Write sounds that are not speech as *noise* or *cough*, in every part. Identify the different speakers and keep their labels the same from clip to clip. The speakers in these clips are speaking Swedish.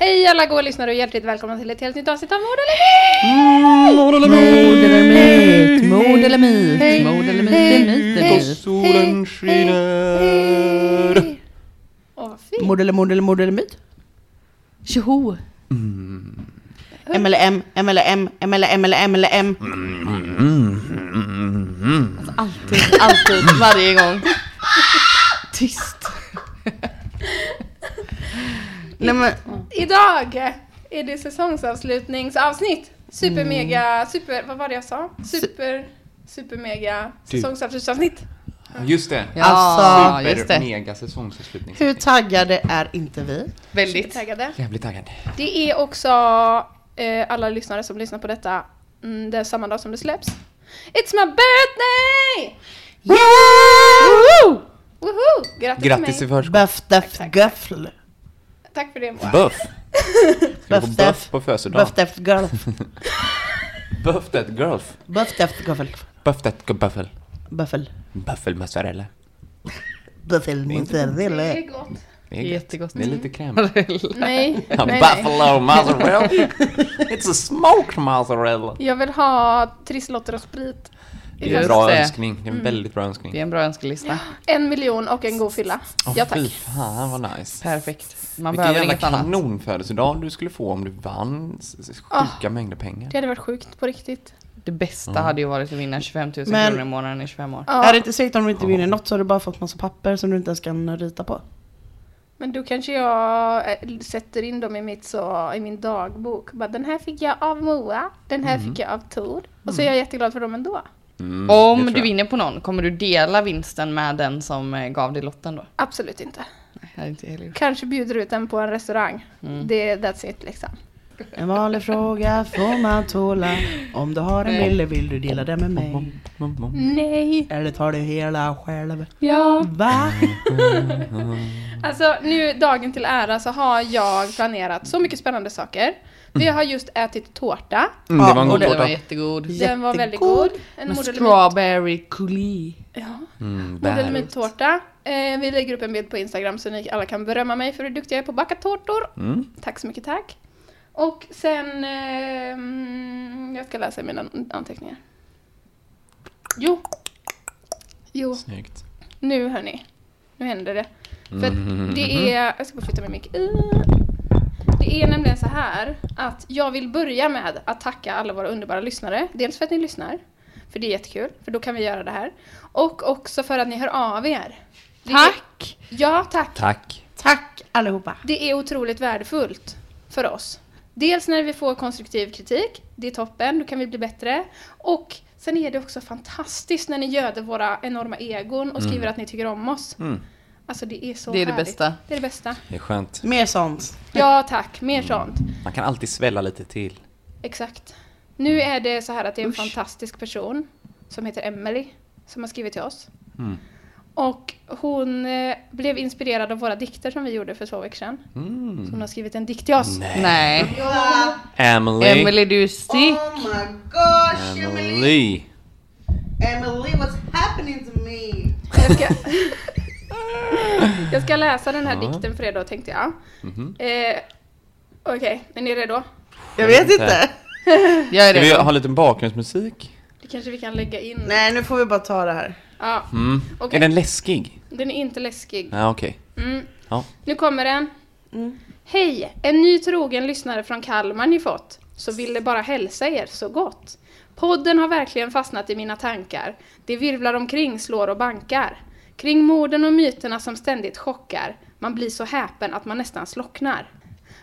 Speaker 1: Hej alla goa lyssnare och hjärtligt välkomna till ett helt nytt avsnitt av Mord eller
Speaker 2: Mod eller myt, mod Mm, eller myt,
Speaker 1: Hej.
Speaker 2: mod eller myt,
Speaker 1: Hej.
Speaker 2: myt eller
Speaker 1: Hej.
Speaker 2: myt.
Speaker 1: Solen skiner. Åh vad fint.
Speaker 2: Mod eller mod eller mod eller myt. Tjoho!
Speaker 3: Mm. M eller M, M eller M, M eller M eller M eller M. *laughs*
Speaker 2: Alltid,
Speaker 3: Alltid, varje gång.
Speaker 2: tyst.
Speaker 3: Nej men,
Speaker 1: Idag är det säsongsavslutningsavsnitt. Super
Speaker 2: Mm.
Speaker 1: mega, super, vad var det jag sa? Super, super mega
Speaker 2: Typ.
Speaker 1: säsongsavslutningsavsnitt.
Speaker 4: Just det.
Speaker 2: Ja,
Speaker 3: Alltså,
Speaker 4: Super
Speaker 3: just det.
Speaker 4: mega säsongsavslutning.
Speaker 3: hur taggade är inte vi?
Speaker 1: Väldigt taggade.
Speaker 4: Jävligt taggad.
Speaker 1: Det är också eh, alla lyssnare som lyssnar på detta mm, det är samma dag som det släpps. It's my birthday!
Speaker 3: Yeah!
Speaker 1: Woho! Grattis,
Speaker 4: Grattis
Speaker 1: till
Speaker 4: i
Speaker 1: mig.
Speaker 4: förskott.
Speaker 3: Böff, deft, göffl.
Speaker 1: Tack för det Moa.
Speaker 4: Buff. Ska du
Speaker 3: Buff,
Speaker 4: få buff
Speaker 3: deft.
Speaker 4: på födelsedagen?
Speaker 3: Böff, deft, gölf.
Speaker 4: Buff that girl.
Speaker 3: Böff, deft, göffel.
Speaker 4: Buff that gubböffel.
Speaker 3: Böffel.
Speaker 4: Buffel mozzarella.
Speaker 3: Böffel,
Speaker 1: Det
Speaker 3: mozzarella.
Speaker 1: är gott.
Speaker 4: Det är gött.
Speaker 2: Jättegott.
Speaker 4: Det är lite kräm.
Speaker 1: Nej, nej,
Speaker 4: A
Speaker 1: nej.
Speaker 4: Buffalo mozzarella. It's a smoked mozzarella.
Speaker 1: Jag vill ha trisslotter och sprit.
Speaker 4: Det är en
Speaker 2: Just
Speaker 4: bra
Speaker 2: det.
Speaker 4: önskning. Det är en väldigt bra önskning.
Speaker 2: Det är en bra önskelista.
Speaker 1: En miljon och en god fylla.
Speaker 4: Åh,
Speaker 1: Ja tack.
Speaker 4: Fy fan vad nice.
Speaker 2: Perfekt. Man
Speaker 4: Vilken
Speaker 2: behöver
Speaker 4: jävla
Speaker 2: inget annat.
Speaker 4: kanonfödelsedag du skulle få om du vann s- s- sjuka mängder pengar.
Speaker 1: Det hade varit sjukt på riktigt.
Speaker 2: Det
Speaker 4: Mm.
Speaker 2: bästa hade ju varit att vinna 25 000
Speaker 3: Men-
Speaker 2: kronor i månaden i 25 år.
Speaker 1: Ja,
Speaker 3: Är det inte säkert om du inte vinner något så har du bara fått massa papper som du inte ens kan rita på.
Speaker 1: Men då kanske jag eh, sätter in dem i, mitt så, i min dagbok. Bara, den här fick jag av Moa, den här fick jag av Tor. Och så är jag jätteglad för dem ändå.
Speaker 4: Mm, det
Speaker 2: Om
Speaker 4: tror
Speaker 2: du
Speaker 4: jag.
Speaker 2: vinner på någon, kommer du dela vinsten med den som eh, gav dig lotten då?
Speaker 1: Absolut inte.
Speaker 2: Nej, jag hade inte heller gjort.
Speaker 1: Kanske bjuder ut den på en restaurang. Det, that's it liksom.
Speaker 3: En vanlig fråga får man tåla. Om du har en mille vill du dela det med mig?
Speaker 4: Mm, mm.
Speaker 1: Nej.
Speaker 3: Eller tar du hela själv?
Speaker 1: Ja.
Speaker 3: Va?
Speaker 1: Alltså nu dagen till ära så har jag planerat så mycket spännande saker. Vi har just ätit tårta.
Speaker 4: Mm, det var en
Speaker 2: Och
Speaker 4: god
Speaker 2: den var
Speaker 4: tårta.
Speaker 2: jättegod.
Speaker 1: Den var väldigt god.
Speaker 3: Jättegod.
Speaker 1: En
Speaker 2: Med
Speaker 1: modellemit-
Speaker 2: strawberry coulis.
Speaker 1: ja,
Speaker 4: Mm, bär.
Speaker 1: modellemitttårta. Eh, vi lägger upp en bild på Instagram så ni alla kan berömma mig för hur duktig jag är på att baka tårtor.
Speaker 4: Mm.
Speaker 1: Tack så mycket, tack. Och sen... Eh, mm, jag ska läsa mina anteckningar. Jo. Jo,
Speaker 4: Snyggt.
Speaker 1: nu hörni. Nu händer det. För att det är... Jag ska bara flytta min mick. Eh, Det är nämligen så här att jag vill börja med att tacka alla våra underbara lyssnare. Dels för att ni lyssnar, för det är jättekul, för då kan vi göra det här. Och också för att ni hör av er. Det är-
Speaker 3: Tack!
Speaker 1: Ja, tack.
Speaker 4: Tack.
Speaker 3: Tack allihopa!
Speaker 1: Det är otroligt värdefullt för oss. Dels när vi får konstruktiv kritik, det är toppen, då kan vi bli bättre. Och sen är det också fantastiskt när ni göder våra enorma egon och skriver att ni tycker om oss.
Speaker 4: Mm.
Speaker 1: Alltså det är så
Speaker 2: Det är det
Speaker 1: härligt.
Speaker 2: bästa.
Speaker 1: Det är det bästa.
Speaker 4: Det är skönt.
Speaker 3: Mer sånt.
Speaker 1: Ja tack, mer
Speaker 4: Mm.
Speaker 1: sånt.
Speaker 4: Man kan alltid svälla lite till.
Speaker 1: Exakt. Nu är det så här att det är en fantastisk person som heter Emily som har skrivit till oss.
Speaker 4: Mm.
Speaker 1: Och hon eh, blev inspirerad av våra dikter som vi gjorde för två veckor sedan.
Speaker 4: Mm.
Speaker 1: Så hon har skrivit en dikt till oss.
Speaker 2: Nej.
Speaker 4: Emily.
Speaker 2: Emily du är stick.
Speaker 3: Oh my gosh
Speaker 4: Emily.
Speaker 3: Emily what's happening to me?
Speaker 1: Jag ska, jag ska läsa den här dikten för er då tänkte jag. Eh, Okej, är ni redo?
Speaker 3: Jag vet inte.
Speaker 2: Jag är
Speaker 4: Ska vi
Speaker 2: redo.
Speaker 4: ha lite bakgrundsmusik?
Speaker 1: Det kanske vi kan lägga in.
Speaker 3: Nej nu får vi bara ta det här.
Speaker 1: Ja,
Speaker 4: Mm.
Speaker 1: Okej.
Speaker 4: Är den läskig?
Speaker 1: den är inte läskig.
Speaker 4: Ja, okej.
Speaker 1: Mm.
Speaker 4: Ja.
Speaker 1: Nu kommer den. Hej! En ny trogen lyssnare från Kalmar ni fått, så ville bara hälsa er så gott. Podden har verkligen fastnat i mina tankar. Det virvlar omkring, slår och bankar. Kring morden och myterna som ständigt chockar. Man blir så häpen att man nästan slocknar.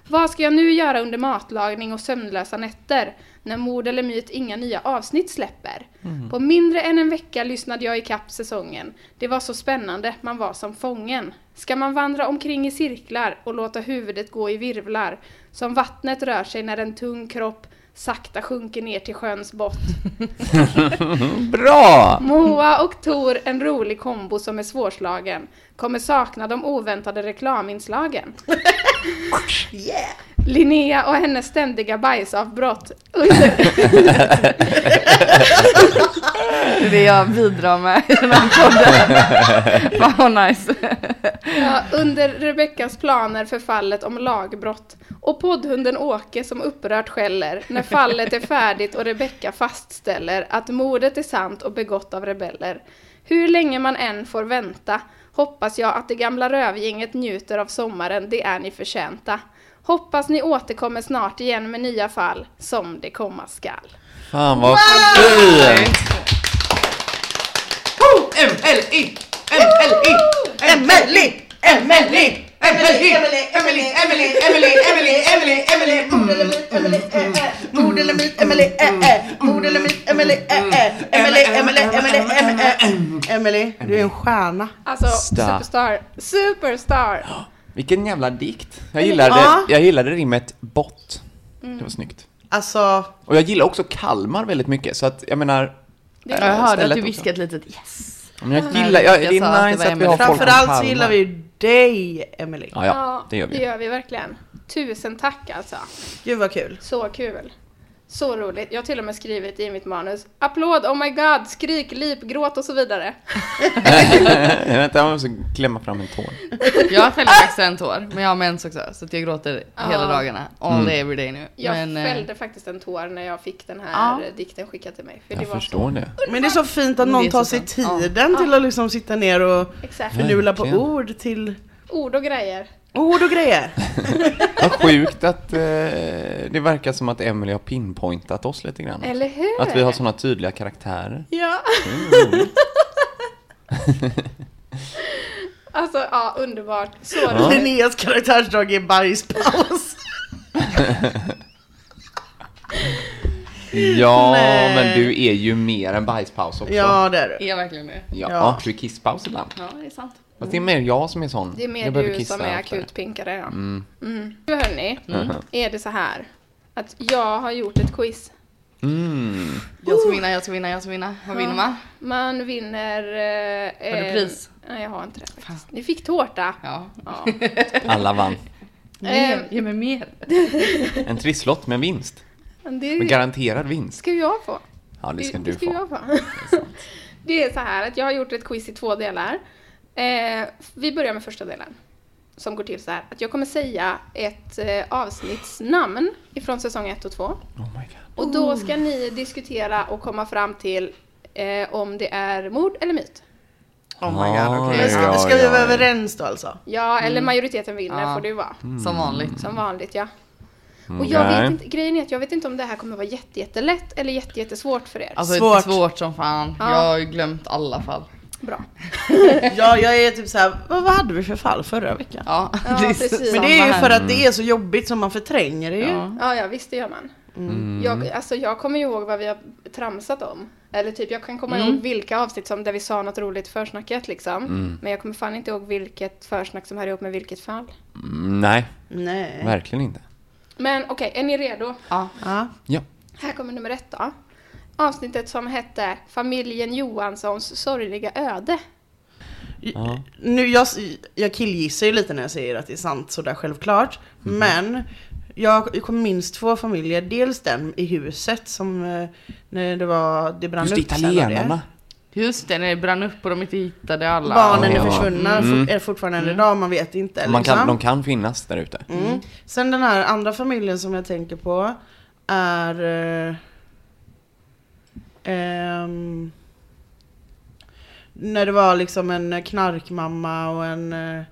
Speaker 1: Vad ska jag nu göra under matlagning och sömnlösa nätter när Mord eller myt inga nya avsnitt släpper? På mindre än en vecka lyssnade jag i kapp säsongen. Det var så spännande, man var som fången. Ska man vandra omkring i cirklar och låta huvudet gå i virvlar? Som vattnet rör sig när en tung kropp sakta sjunker ner till sjöns botten.
Speaker 4: Bra!
Speaker 1: Moa och Tor, en rolig kombo som är svårslagen. Kommer sakna de oväntade reklaminslagen. Linnea och hennes ständiga bajsavbrott. Under,
Speaker 2: Det är det jag bidrar med i den här
Speaker 4: *laughs*
Speaker 2: podden. Fan vad nice.
Speaker 1: ja, under Rebeckas planer för fallet om lagbrott. Och poddhunden Åke som upprört skäller när fallet är färdigt och Rebecka fastställer att mordet är sant och begått av rebeller. Hur länge man än får vänta hoppas jag att det gamla rövgänget njuter av sommaren, det är ni förtjänta. Hoppas ni återkommer snart igen med nya fall, som det komma skall.
Speaker 4: Fan vad fint!
Speaker 3: Emily! Emily! Emily! Emily! Emily! Emily! Emily! Emily! Emily! Emily! Emily! Mord eller myt, Emily, eh, eh. Mord eller myt, Emily, eh, eh. Emily, Emily, Emily, em, eh. Emily, du är en stjärna.
Speaker 1: Alltså,
Speaker 4: Star.
Speaker 1: superstar. Superstar!
Speaker 4: Vilken jävla dikt. Jag gillade,
Speaker 3: Ja.
Speaker 4: jag gillade rimmet bott.
Speaker 2: Mm.
Speaker 4: Det var snyggt.
Speaker 3: Alltså,
Speaker 4: Och jag gillar också Kalmar väldigt mycket, så att jag menar... eh,
Speaker 2: Jag hörde att
Speaker 4: stället
Speaker 2: du
Speaker 4: också.
Speaker 2: viskat lite yes.
Speaker 4: Men jag gillar, jag, det
Speaker 2: Jag sa att
Speaker 4: är
Speaker 2: det
Speaker 4: nice
Speaker 2: var
Speaker 4: att vi har
Speaker 2: Emily.
Speaker 4: folk från
Speaker 3: framförallt
Speaker 4: Kalmar.
Speaker 3: så gillar vi ju dig, Emily.
Speaker 4: Ja, ja, det gör
Speaker 1: Det
Speaker 4: vi.
Speaker 1: gör vi verkligen. Tusen tack alltså.
Speaker 3: Gud vad kul.
Speaker 1: Så kul. Så roligt. Jag har till och med skrivit i mitt manus. Applåd, oh my god, skrik, lip, gråt och så
Speaker 2: *laughs*
Speaker 1: vidare.
Speaker 4: *laughs* Vänta, jag måste klämma fram en tår.
Speaker 2: Jag fällde faktiskt en tår, men jag har mens också så att jag gråter hela dagarna. All
Speaker 4: Mm.
Speaker 2: day every day nu.
Speaker 1: Jag
Speaker 2: men, eh,
Speaker 1: fällde faktiskt en tår när jag fick den här dikten skickad till mig. För det
Speaker 4: Jag
Speaker 1: var
Speaker 4: förstår det.
Speaker 3: Men det är så fint att någon
Speaker 2: det är
Speaker 3: tar
Speaker 2: så
Speaker 3: sig
Speaker 2: sant.
Speaker 3: tiden till att liksom sitta ner och
Speaker 1: Så, exakt.
Speaker 3: finurla på
Speaker 4: Verkligen.
Speaker 3: ord till
Speaker 1: Ord och grejer.
Speaker 3: ord och grejer.
Speaker 4: Vad sjukt att eh, det verkar som att Emily har pinpointat oss lite grann.
Speaker 1: Eller hur?
Speaker 4: Att vi har såna tydliga karaktärer.
Speaker 1: Ja. alltså, ja, underbart. Så
Speaker 3: *laughs*
Speaker 1: roligt.
Speaker 3: Linneas karaktärsdrag är bajspaus.
Speaker 4: Ja,
Speaker 3: Nej.
Speaker 4: men du är ju mer än bajspaus
Speaker 3: *laughs*
Speaker 4: också.
Speaker 3: Ja det är du.
Speaker 2: Är jag verkligen det?
Speaker 4: ja.
Speaker 3: Ja.
Speaker 4: Du är kisspaus ibland.
Speaker 2: Ja, det är sant.
Speaker 4: Fast det är mer jag som är sån.
Speaker 1: Det är mer
Speaker 4: jag behöver
Speaker 1: du
Speaker 4: kissa
Speaker 1: som är
Speaker 4: oftare.
Speaker 1: akutpinkare. Ja. Mm. Nu hörni,
Speaker 4: Mm.
Speaker 1: är det så här att jag har gjort ett quiz.
Speaker 4: Mm.
Speaker 2: Jag ska vinna, jag ska vinna, jag ska vinna. Vad vinner man?
Speaker 1: Man vinner... Eh,
Speaker 2: Har du
Speaker 1: eh,
Speaker 2: pris?
Speaker 1: Nej, jag har inte det faktiskt. Ni fick tårta.
Speaker 2: Ja. *laughs* Eh,
Speaker 1: Ja.
Speaker 4: *laughs*
Speaker 1: Eh,
Speaker 4: Alla vann.
Speaker 2: Mer, ge mig mer.
Speaker 4: Mm. En trisslott med vinst.
Speaker 1: Men
Speaker 4: Med
Speaker 1: Det
Speaker 4: garanterad vinst.
Speaker 1: ska ju jag få.
Speaker 4: Ja, det ska
Speaker 1: det,
Speaker 4: du
Speaker 1: ska
Speaker 4: få.
Speaker 1: jag få. *laughs* Det är så här att jag har gjort ett quiz i två delar. Eh, vi börjar med första delen. Som går till så här att jag kommer säga ett eh, avsnittsnamn ifrån säsong 1 och 2.
Speaker 4: Oh my god.
Speaker 1: Och då ska ni diskutera och komma fram till eh, om det är mord eller myt.
Speaker 3: Oh my god okej.
Speaker 4: Oj,
Speaker 3: Men Ska,
Speaker 4: oj,
Speaker 3: ska vi
Speaker 4: oj.
Speaker 3: vara överens då alltså?
Speaker 1: Ja, eller majoriteten vinner
Speaker 2: Ja. Mm.
Speaker 1: får det ju vara.
Speaker 2: Som vanligt.
Speaker 1: Som vanligt ja. Och jag
Speaker 4: Okej.
Speaker 1: vet inte, grejen är att jag vet inte om det här kommer vara jätte- jättelätt eller jätte- jättesvårt för er.
Speaker 2: Alltså
Speaker 3: Svårt.
Speaker 2: svårt, svårt som fan.
Speaker 1: Ja.
Speaker 2: Jag har ju glömt alla fall.
Speaker 1: Bra.
Speaker 3: Ja jag är typ såhär, vad, vad hade vi för fall förra veckan?
Speaker 2: Ja,
Speaker 1: Ja,
Speaker 2: är
Speaker 1: precis.
Speaker 2: samma
Speaker 3: Men det är ju
Speaker 2: här.
Speaker 3: för att det är så jobbigt som man förtränger det ju.
Speaker 2: Ja.
Speaker 1: Ja, ja visst det gör man.
Speaker 3: Mm.
Speaker 1: Jag, alltså, jag kommer ju ihåg vad vi har tramsat om. Eller typ jag kan
Speaker 3: Mm.
Speaker 1: komma ihåg vilka avsnitt som där vi sa något roligt i försnacket liksom.
Speaker 3: Mm.
Speaker 1: Men jag kommer fan inte ihåg vilket försnack som hör ihop med vilket fall.
Speaker 4: Mm, nej,
Speaker 3: Nej.
Speaker 4: verkligen inte.
Speaker 1: Men okej, är ni redo?
Speaker 3: Ja.
Speaker 4: Ja.
Speaker 1: Här kommer nummer ett då. Avsnittet som hette Familjen Johanssons sorgliga öde.
Speaker 4: Ja.
Speaker 3: Nu, jag, jag killgissar ju lite när jag säger att det är sant sådär självklart.
Speaker 4: Mm.
Speaker 3: Men jag kommer minst två familjer. Dels den i huset som eh, när det, var, det brann
Speaker 4: Just
Speaker 3: upp. sen och det.
Speaker 4: italienarna.
Speaker 2: Just det, när det brann upp och de inte hittade alla.
Speaker 3: Barnen
Speaker 4: Ja.
Speaker 3: är försvunna,
Speaker 4: Mm.
Speaker 3: fort, är fortfarande än idag, man vet inte.
Speaker 4: Man kan,
Speaker 3: liksom.
Speaker 4: de kan finnas där ute.
Speaker 3: Mm. Sen den här andra familjen som jag tänker på är... Eh, ehm, när det var liksom en knarkmamma och en... Eh,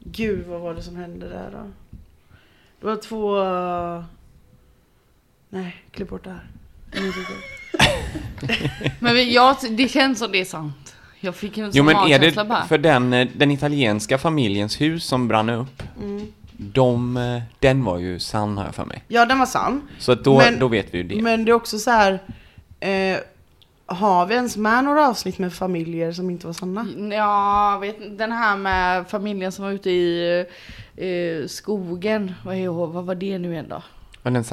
Speaker 3: gud vad var det som hände där då? Det var två... eh, Nej, klipp bort det här. Jag minns inte.
Speaker 2: Men vi, jag, det känns som det är sant. Jag fick ju en
Speaker 4: Jo
Speaker 2: sån
Speaker 4: men är
Speaker 2: magkänsla bara.
Speaker 4: det för den, eh, den italienska familjens hus som brann upp? De, eh, den var ju sann har jag för mig.
Speaker 3: Ja, den var sann.
Speaker 4: Så att då,
Speaker 3: Men-
Speaker 4: då vet vi ju det.
Speaker 3: Men det är också så här... Eh, har vi ens med några avsnitt med familjer som inte var sanna?
Speaker 2: Mm. Ja, vet, inte. den här med familjen som var ute i eh, skogen. Vad, är, vad var det nu igen då?
Speaker 4: Men den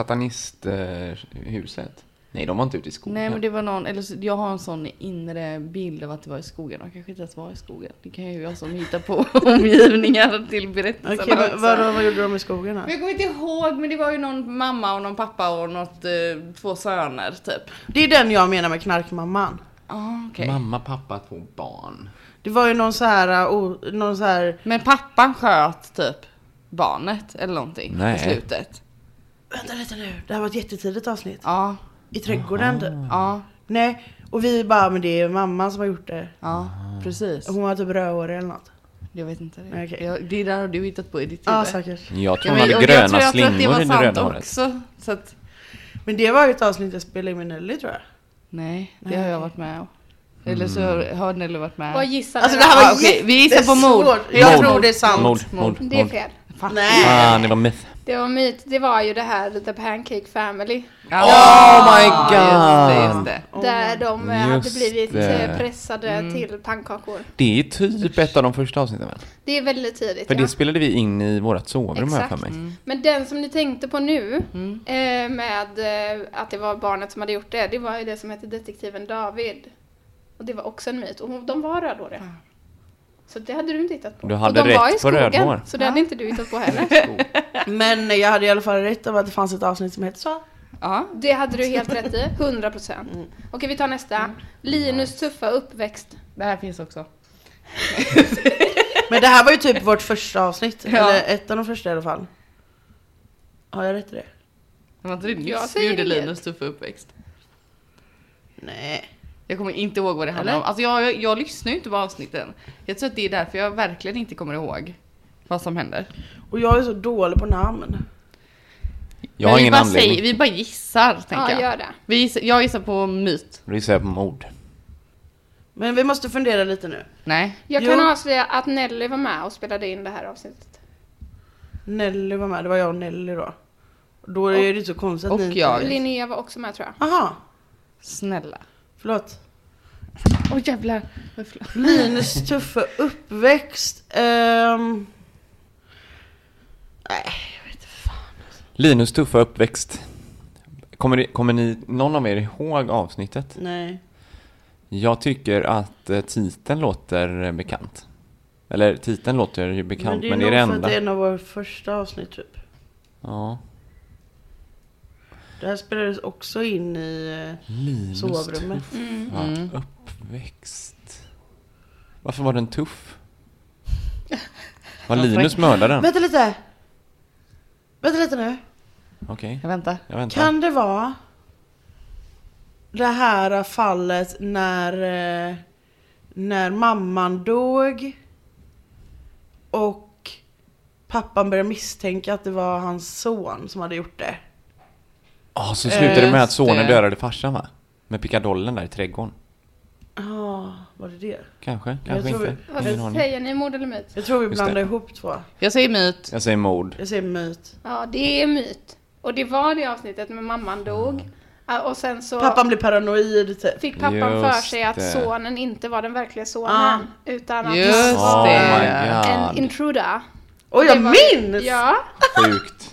Speaker 4: satanisthuset? Eh, huset? Nej, de var inte ute i skogen.
Speaker 2: Nej men det var någon, eller så, jag har en sån inre bild av att det var i skogen. De kanske inte ens var i skogen. Det kan ju jag som hittar på *laughs* omgivningar till berättelserna
Speaker 3: Okej, vad,
Speaker 2: också.
Speaker 3: vad, vad gjorde de i skogen
Speaker 2: Men
Speaker 3: här?
Speaker 2: jag kommer inte ihåg men det var ju någon mamma och någon pappa och något, eh, två söner typ.
Speaker 3: Det är den jag menar med knarkmamman.
Speaker 2: Ah, okej.
Speaker 4: Mamma, pappa, två barn.
Speaker 3: Det var ju någon så här... eh, O, någon så här
Speaker 2: Men pappan sköt typ barnet eller någonting
Speaker 4: Nej.
Speaker 2: i slutet.
Speaker 3: vänta lite nu, det här var ett jättetidigt avsnitt.
Speaker 2: Ja,
Speaker 3: I trädgården typ.
Speaker 2: ja,
Speaker 3: Nej, och vi bara, men det är mamman som har gjort det.
Speaker 2: ja, precis.
Speaker 3: Hon var typ rödhårig eller något.
Speaker 2: Jag vet inte. Det,
Speaker 3: Nej, okej.
Speaker 2: jag, det där har du hittat på i ditt
Speaker 3: Ja,
Speaker 2: huvud.
Speaker 3: säkert.
Speaker 4: Jag tror
Speaker 2: men-
Speaker 4: hon hade
Speaker 2: och
Speaker 4: gröna
Speaker 2: jag tror att det var
Speaker 4: slingor i det
Speaker 2: sant
Speaker 4: röda håret.
Speaker 2: också. Så att,
Speaker 3: Men det var ju ett avsnitt jag spelade in med Nelly tror jag.
Speaker 2: nej, det har jag varit med om.
Speaker 4: Mm.
Speaker 2: Eller så har, har Nelly varit med.
Speaker 1: Vad gissar ni
Speaker 3: Alltså det
Speaker 1: då?
Speaker 3: här var
Speaker 2: Ja, okej, vi gissar på mord.
Speaker 3: jättesvårt. Jag
Speaker 4: Mord.
Speaker 3: tror det är sant.
Speaker 4: Mord, mord,
Speaker 1: Det är
Speaker 4: mord.
Speaker 1: fel.
Speaker 2: Fan.
Speaker 3: Nej.
Speaker 4: Fan, det var myth.
Speaker 1: Det var myt. Det var ju det här The Pancake Family.
Speaker 4: Oh my
Speaker 2: Just det,
Speaker 4: god!
Speaker 2: just det.
Speaker 1: där de eh, hade
Speaker 4: Just
Speaker 1: blivit
Speaker 4: det.
Speaker 1: eh, pressade
Speaker 3: Mm.
Speaker 1: till pannkakor.
Speaker 4: Det är typ ett av de första avsnitten väl?
Speaker 1: Det är väldigt tidigt.
Speaker 4: För
Speaker 1: ja.
Speaker 4: det spelade vi in i vårat sovrum har jag för
Speaker 1: Exakt.
Speaker 4: mig.
Speaker 1: Men den som ni tänkte på nu
Speaker 4: Mm.
Speaker 1: eh, med eh, att det var barnet som hade gjort det, det var ju det som hette detektiven David. Och det var också en myt. Och hon- de var rödhåriga. Så det hade du inte hittat på.
Speaker 4: Du hade
Speaker 1: och de var
Speaker 4: rätt
Speaker 1: i
Speaker 4: på
Speaker 1: skogen,
Speaker 4: rödhår.
Speaker 1: så det hade inte du hittat på
Speaker 2: *laughs*
Speaker 1: heller.
Speaker 3: Men jag hade i alla fall rätt om att det fanns ett avsnitt som hette så.
Speaker 2: Ja.
Speaker 1: Det hade du helt rätt i, 100%. procent.
Speaker 4: Mm.
Speaker 1: Okej, vi tar nästa.
Speaker 2: Mm.
Speaker 1: Linus tuffa uppväxt.
Speaker 2: Det här finns också.
Speaker 3: Men det här var ju typ vårt första avsnitt.
Speaker 2: Ja.
Speaker 3: Eller ett av de första i alla fall. Har jag rätt i det?
Speaker 2: Det var inte det
Speaker 1: Jag
Speaker 2: nyss vi
Speaker 1: säger
Speaker 2: gjorde
Speaker 1: det.
Speaker 2: Linus tuffa uppväxt.
Speaker 3: Nej.
Speaker 2: Jag kommer inte ihåg vad det handlar om. Alltså jag, jag, jag lyssnar ju inte på avsnitten. Jag tror att det är därför jag verkligen inte kommer ihåg vad som händer.
Speaker 3: Och jag är så dålig på namn.
Speaker 4: Jag
Speaker 2: Men
Speaker 4: har
Speaker 2: vi
Speaker 4: ingen
Speaker 2: bara
Speaker 4: anledning.
Speaker 2: säger- vi bara gissar, tänker
Speaker 1: Ja,
Speaker 2: jag.
Speaker 1: gör det.
Speaker 2: Vi gissar, jag gissar på myt.
Speaker 4: Då gissar jag på mord.
Speaker 3: Men vi måste fundera lite nu.
Speaker 2: Nej.
Speaker 1: Jag kan
Speaker 3: Jo.
Speaker 1: avslöja att Nelly var med och spelade in det här avsnittet.
Speaker 3: Nelly var med, det var jag och Nelly då. Då är det ju inte så konstigt att
Speaker 2: och
Speaker 3: ni inte
Speaker 2: jag.
Speaker 3: vet.
Speaker 1: Linnea var också med tror jag.
Speaker 3: Aha,
Speaker 2: Snälla.
Speaker 3: förlåt.
Speaker 2: Åh jävlar.
Speaker 3: Linus tuffa uppväxt. ehm. Nej, jag vet inte fan.
Speaker 4: Linus tuffa uppväxt. Kommer, det, kommer ni, någon av er ihåg avsnittet?
Speaker 3: Nej.
Speaker 4: Jag tycker att eh, titeln låter eh, bekant. Eller titeln låter ju bekant, men det är det
Speaker 3: nog för att
Speaker 4: enda.
Speaker 3: det är en av våra första avsnitt typ.
Speaker 4: Ja.
Speaker 3: Det här spelades också in i eh,
Speaker 4: Linus
Speaker 3: sovrummet. Mm.
Speaker 4: tuffa uppväxt. Varför var
Speaker 3: *laughs*
Speaker 4: den tuff? Var
Speaker 2: Varför-
Speaker 4: Linus mördaren?
Speaker 3: Vänta lite! Vänta lite nu.
Speaker 4: Okej,
Speaker 2: Jag väntar.
Speaker 4: jag väntar.
Speaker 3: Kan det vara det här fallet när, eh, när mamman dog och pappan började misstänka att det var hans son som hade gjort det?
Speaker 4: Ja, så slutade det med att
Speaker 3: Eh,
Speaker 2: Just
Speaker 4: sonen
Speaker 2: det.
Speaker 4: dödade farsan va? Med pickadollen där i trädgården.
Speaker 3: Ja, var det det?
Speaker 4: Kanske, kanske
Speaker 3: tror
Speaker 4: inte.
Speaker 1: Vad
Speaker 4: Ingen aning.
Speaker 1: säger ni, mord eller myt?
Speaker 3: Jag tror vi
Speaker 4: Just
Speaker 3: blandar
Speaker 4: det.
Speaker 3: ihop två.
Speaker 2: Jag säger myt.
Speaker 4: Jag säger mord.
Speaker 3: Jag säger myt.
Speaker 1: Ja, det är myt. Och det var det avsnittet med mamman dog. Ah, Och sen så
Speaker 3: Pappan blir paranoid typ.
Speaker 1: fick pappan för
Speaker 4: Just
Speaker 1: sig att
Speaker 4: det.
Speaker 1: sonen inte var den verkliga sonen.
Speaker 3: Ah.
Speaker 1: Utan att
Speaker 2: Just
Speaker 1: han var
Speaker 4: Oh my
Speaker 1: en
Speaker 4: god,
Speaker 1: intruder.
Speaker 3: Och jag
Speaker 1: Det var-
Speaker 3: minns!
Speaker 1: Ja,
Speaker 4: sjukt.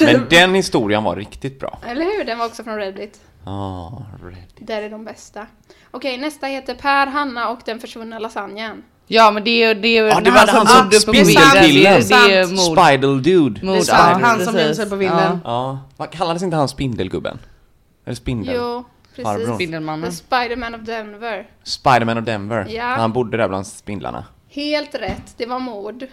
Speaker 4: Men den historien var riktigt bra.
Speaker 1: eller hur? Den var också från Reddit.
Speaker 4: Ja, red.
Speaker 1: Där är de bästa. Okej, nästa heter Per, Hanna och den försvunna lasagnen.
Speaker 2: Ja men det är ju... Det är ju
Speaker 4: Ja, det
Speaker 2: när
Speaker 4: var alltså
Speaker 2: han
Speaker 4: han
Speaker 2: som
Speaker 4: som
Speaker 2: bodde på
Speaker 4: spindeln.
Speaker 2: bilden. Det är-
Speaker 3: Sant.
Speaker 2: Det är mord.
Speaker 4: Spidal dude.
Speaker 2: Mord,
Speaker 3: Det är sant,
Speaker 2: ja,
Speaker 3: han som
Speaker 2: precis.
Speaker 3: visade på bilden.
Speaker 4: Ja, vad kallades inte han Spindelgubben? Eller Spindel?
Speaker 1: Jo,
Speaker 4: Farbrorn.
Speaker 1: precis. The
Speaker 2: Spindelmannen.
Speaker 1: Spiderman of Denver.
Speaker 4: Spiderman of Denver.
Speaker 1: Ja.
Speaker 4: När Han bodde där bland spindlarna.
Speaker 1: Helt rätt, det var mord.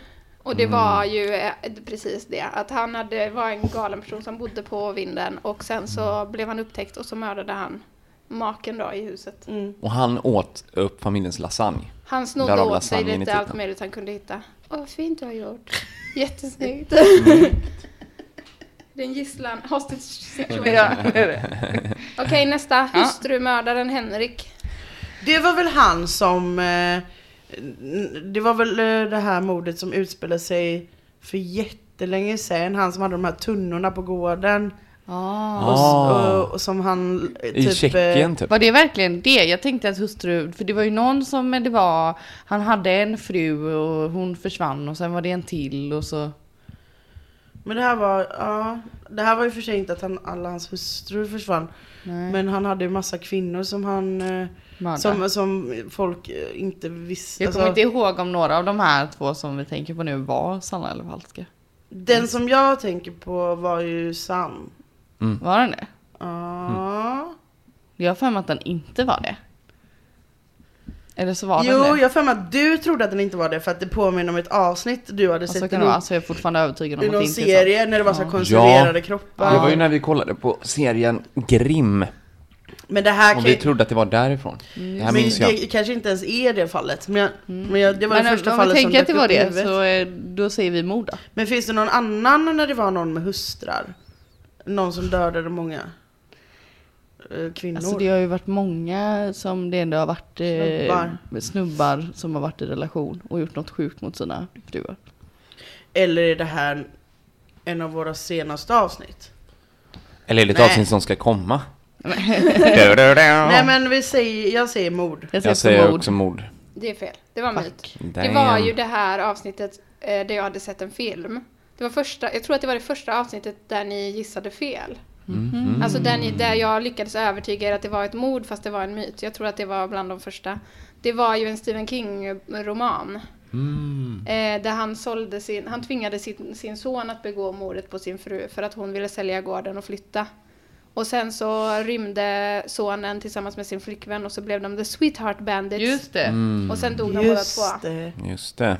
Speaker 1: Och det var
Speaker 4: Mm.
Speaker 1: ju eh, precis det, att han
Speaker 4: Mm.
Speaker 1: hade, var en galen person som bodde på vinden och sen så blev han upptäckt och så mördade han maken då i huset.
Speaker 4: Och han åt upp familjens lasagne.
Speaker 1: Han snodde
Speaker 4: Därav
Speaker 1: åt sig
Speaker 4: lasagnen i
Speaker 1: lite
Speaker 4: titeln.
Speaker 1: allt möjligt han kunde hitta. Åh, vad fint du har gjort. *laughs* Jättesnyggt.
Speaker 4: Mm.
Speaker 1: Den gisslan,
Speaker 4: *laughs*
Speaker 1: hostage
Speaker 3: *laughs*
Speaker 1: situation. Okej, nästa. Hustrumördaren Henrik.
Speaker 3: Det var väl han som... eh, n- Det var väl eh, det här mordet som utspelade sig för jättelänge sedan. Han som hade de här tunnorna på gården.
Speaker 2: Ah.
Speaker 3: Och, s-
Speaker 4: Ah.
Speaker 3: och, och som han... eh,
Speaker 4: I
Speaker 3: eh,
Speaker 4: Tjeckien typ.
Speaker 2: Var det verkligen det? Jag tänkte att hustru, för det var ju någon som det var, han hade en fru och hon försvann och sen var det en till och så.
Speaker 3: Men det här var, ja, det här var ju för sig inte att han, alla hans hustrur försvann.
Speaker 2: Nej.
Speaker 3: Men han hade ju massa kvinnor som han, eh,
Speaker 2: Mördare.
Speaker 3: som, som folk eh, inte visste. Alltså,
Speaker 2: jag kommer inte ihåg om några av de här två som vi tänker på nu var sanna eller falska.
Speaker 3: Den som jag tänker på var ju Sam.
Speaker 2: Var den det?
Speaker 3: Ja.
Speaker 4: Mm.
Speaker 2: Jag har för mig att den inte var det. Eller så var
Speaker 3: Jo,
Speaker 2: den det.
Speaker 3: jag har för mig att du trodde att den inte var det för att det påminner om ett avsnitt du hade
Speaker 2: Så
Speaker 3: sett i
Speaker 2: kan det vara,
Speaker 3: någon,
Speaker 2: så jag är fortfarande
Speaker 3: i
Speaker 2: övertygad om att det
Speaker 3: någon
Speaker 2: inte är sant.
Speaker 3: serie när det var så här konserverade
Speaker 4: Ja,
Speaker 3: kroppar.
Speaker 4: det var ju när vi kollade på serien Grimm.
Speaker 3: Men det här kan
Speaker 4: Och
Speaker 3: ju-
Speaker 4: vi trodde att det var därifrån. Det här
Speaker 3: men
Speaker 4: minns jag.
Speaker 3: det kanske inte ens är det fallet. Men, jag, men jag, det var det
Speaker 2: Mm. Men eh,
Speaker 3: första
Speaker 2: om vi
Speaker 3: fallet som
Speaker 2: tänker att det
Speaker 3: dök
Speaker 2: var
Speaker 3: upp i
Speaker 2: det,
Speaker 3: huvudet.
Speaker 2: så eh, då säger vi mord då.
Speaker 3: Men finns det någon annan när det var någon med hustrar? Någon som dödade många eh, kvinnor?
Speaker 2: Alltså det har ju varit många som det ändå har varit eh,
Speaker 3: Snubbar.
Speaker 2: snubbar som har varit i relation och gjort något sjukt mot sina fruar.
Speaker 3: Eller är det här en av våra senaste avsnitt?
Speaker 4: Eller är det ett
Speaker 3: Nej.
Speaker 4: avsnitt som ska komma?
Speaker 3: Nej men vi säger, jag säger mord.
Speaker 2: Jag
Speaker 4: Jag
Speaker 2: säger
Speaker 4: säger
Speaker 2: på mord.
Speaker 4: också mord.
Speaker 1: Det är fel. Det var myt. Det
Speaker 4: Damn.
Speaker 1: var ju det här avsnittet eh, där jag hade sett en film. Det var första, jag tror att det var det första avsnittet där ni gissade fel. Alltså där, ni, där jag lyckades övertyga er att det var ett mord fast det var en myt. Jag tror att det var bland de första. Det var ju en Stephen King-roman. Eh, där han, sålde sin, han tvingade sin, sin son att begå mordet på sin fru för att hon ville sälja gården och flytta. Och sen så rymde sonen tillsammans med sin flickvän och så blev de The Sweetheart Bandits.
Speaker 2: Just det.
Speaker 4: Mm.
Speaker 1: Och sen dog de båda
Speaker 3: Just
Speaker 1: två.
Speaker 3: det.
Speaker 4: Just det.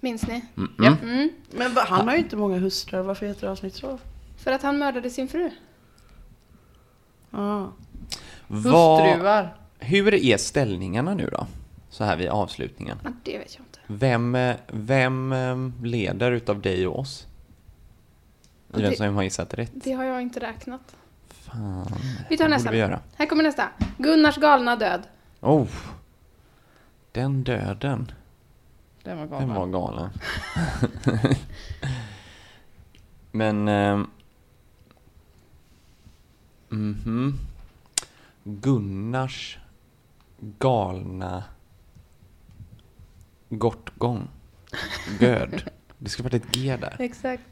Speaker 1: Minns ni?
Speaker 4: Mm.
Speaker 1: Mm.
Speaker 3: Men va, han har ju inte många hustrar, varför heter avsnitt så?
Speaker 1: För att han mördade sin fru.
Speaker 3: Ah.
Speaker 4: Vad,
Speaker 2: Hustruar.
Speaker 4: hur är ställningarna nu då? Så här vid avslutningen.
Speaker 1: Ja, det vet jag inte.
Speaker 4: Vem, eh, vem eh, leder utav dig och oss? I vem
Speaker 1: Det-
Speaker 4: som har gissat rätt?
Speaker 1: Det har jag inte räknat.
Speaker 4: Fan.
Speaker 1: Vi tar
Speaker 4: Det
Speaker 1: nästa.
Speaker 4: borde vi göra.
Speaker 1: Här kommer nästa. Gunnars galna död.
Speaker 4: Oh. Den döden.
Speaker 2: Den var
Speaker 4: Den
Speaker 2: galen.
Speaker 4: var galen. *laughs* Men... ehm, mhm. Gunnars galna gortgång. Göd. Det skulle varit ett G där.
Speaker 1: Exakt.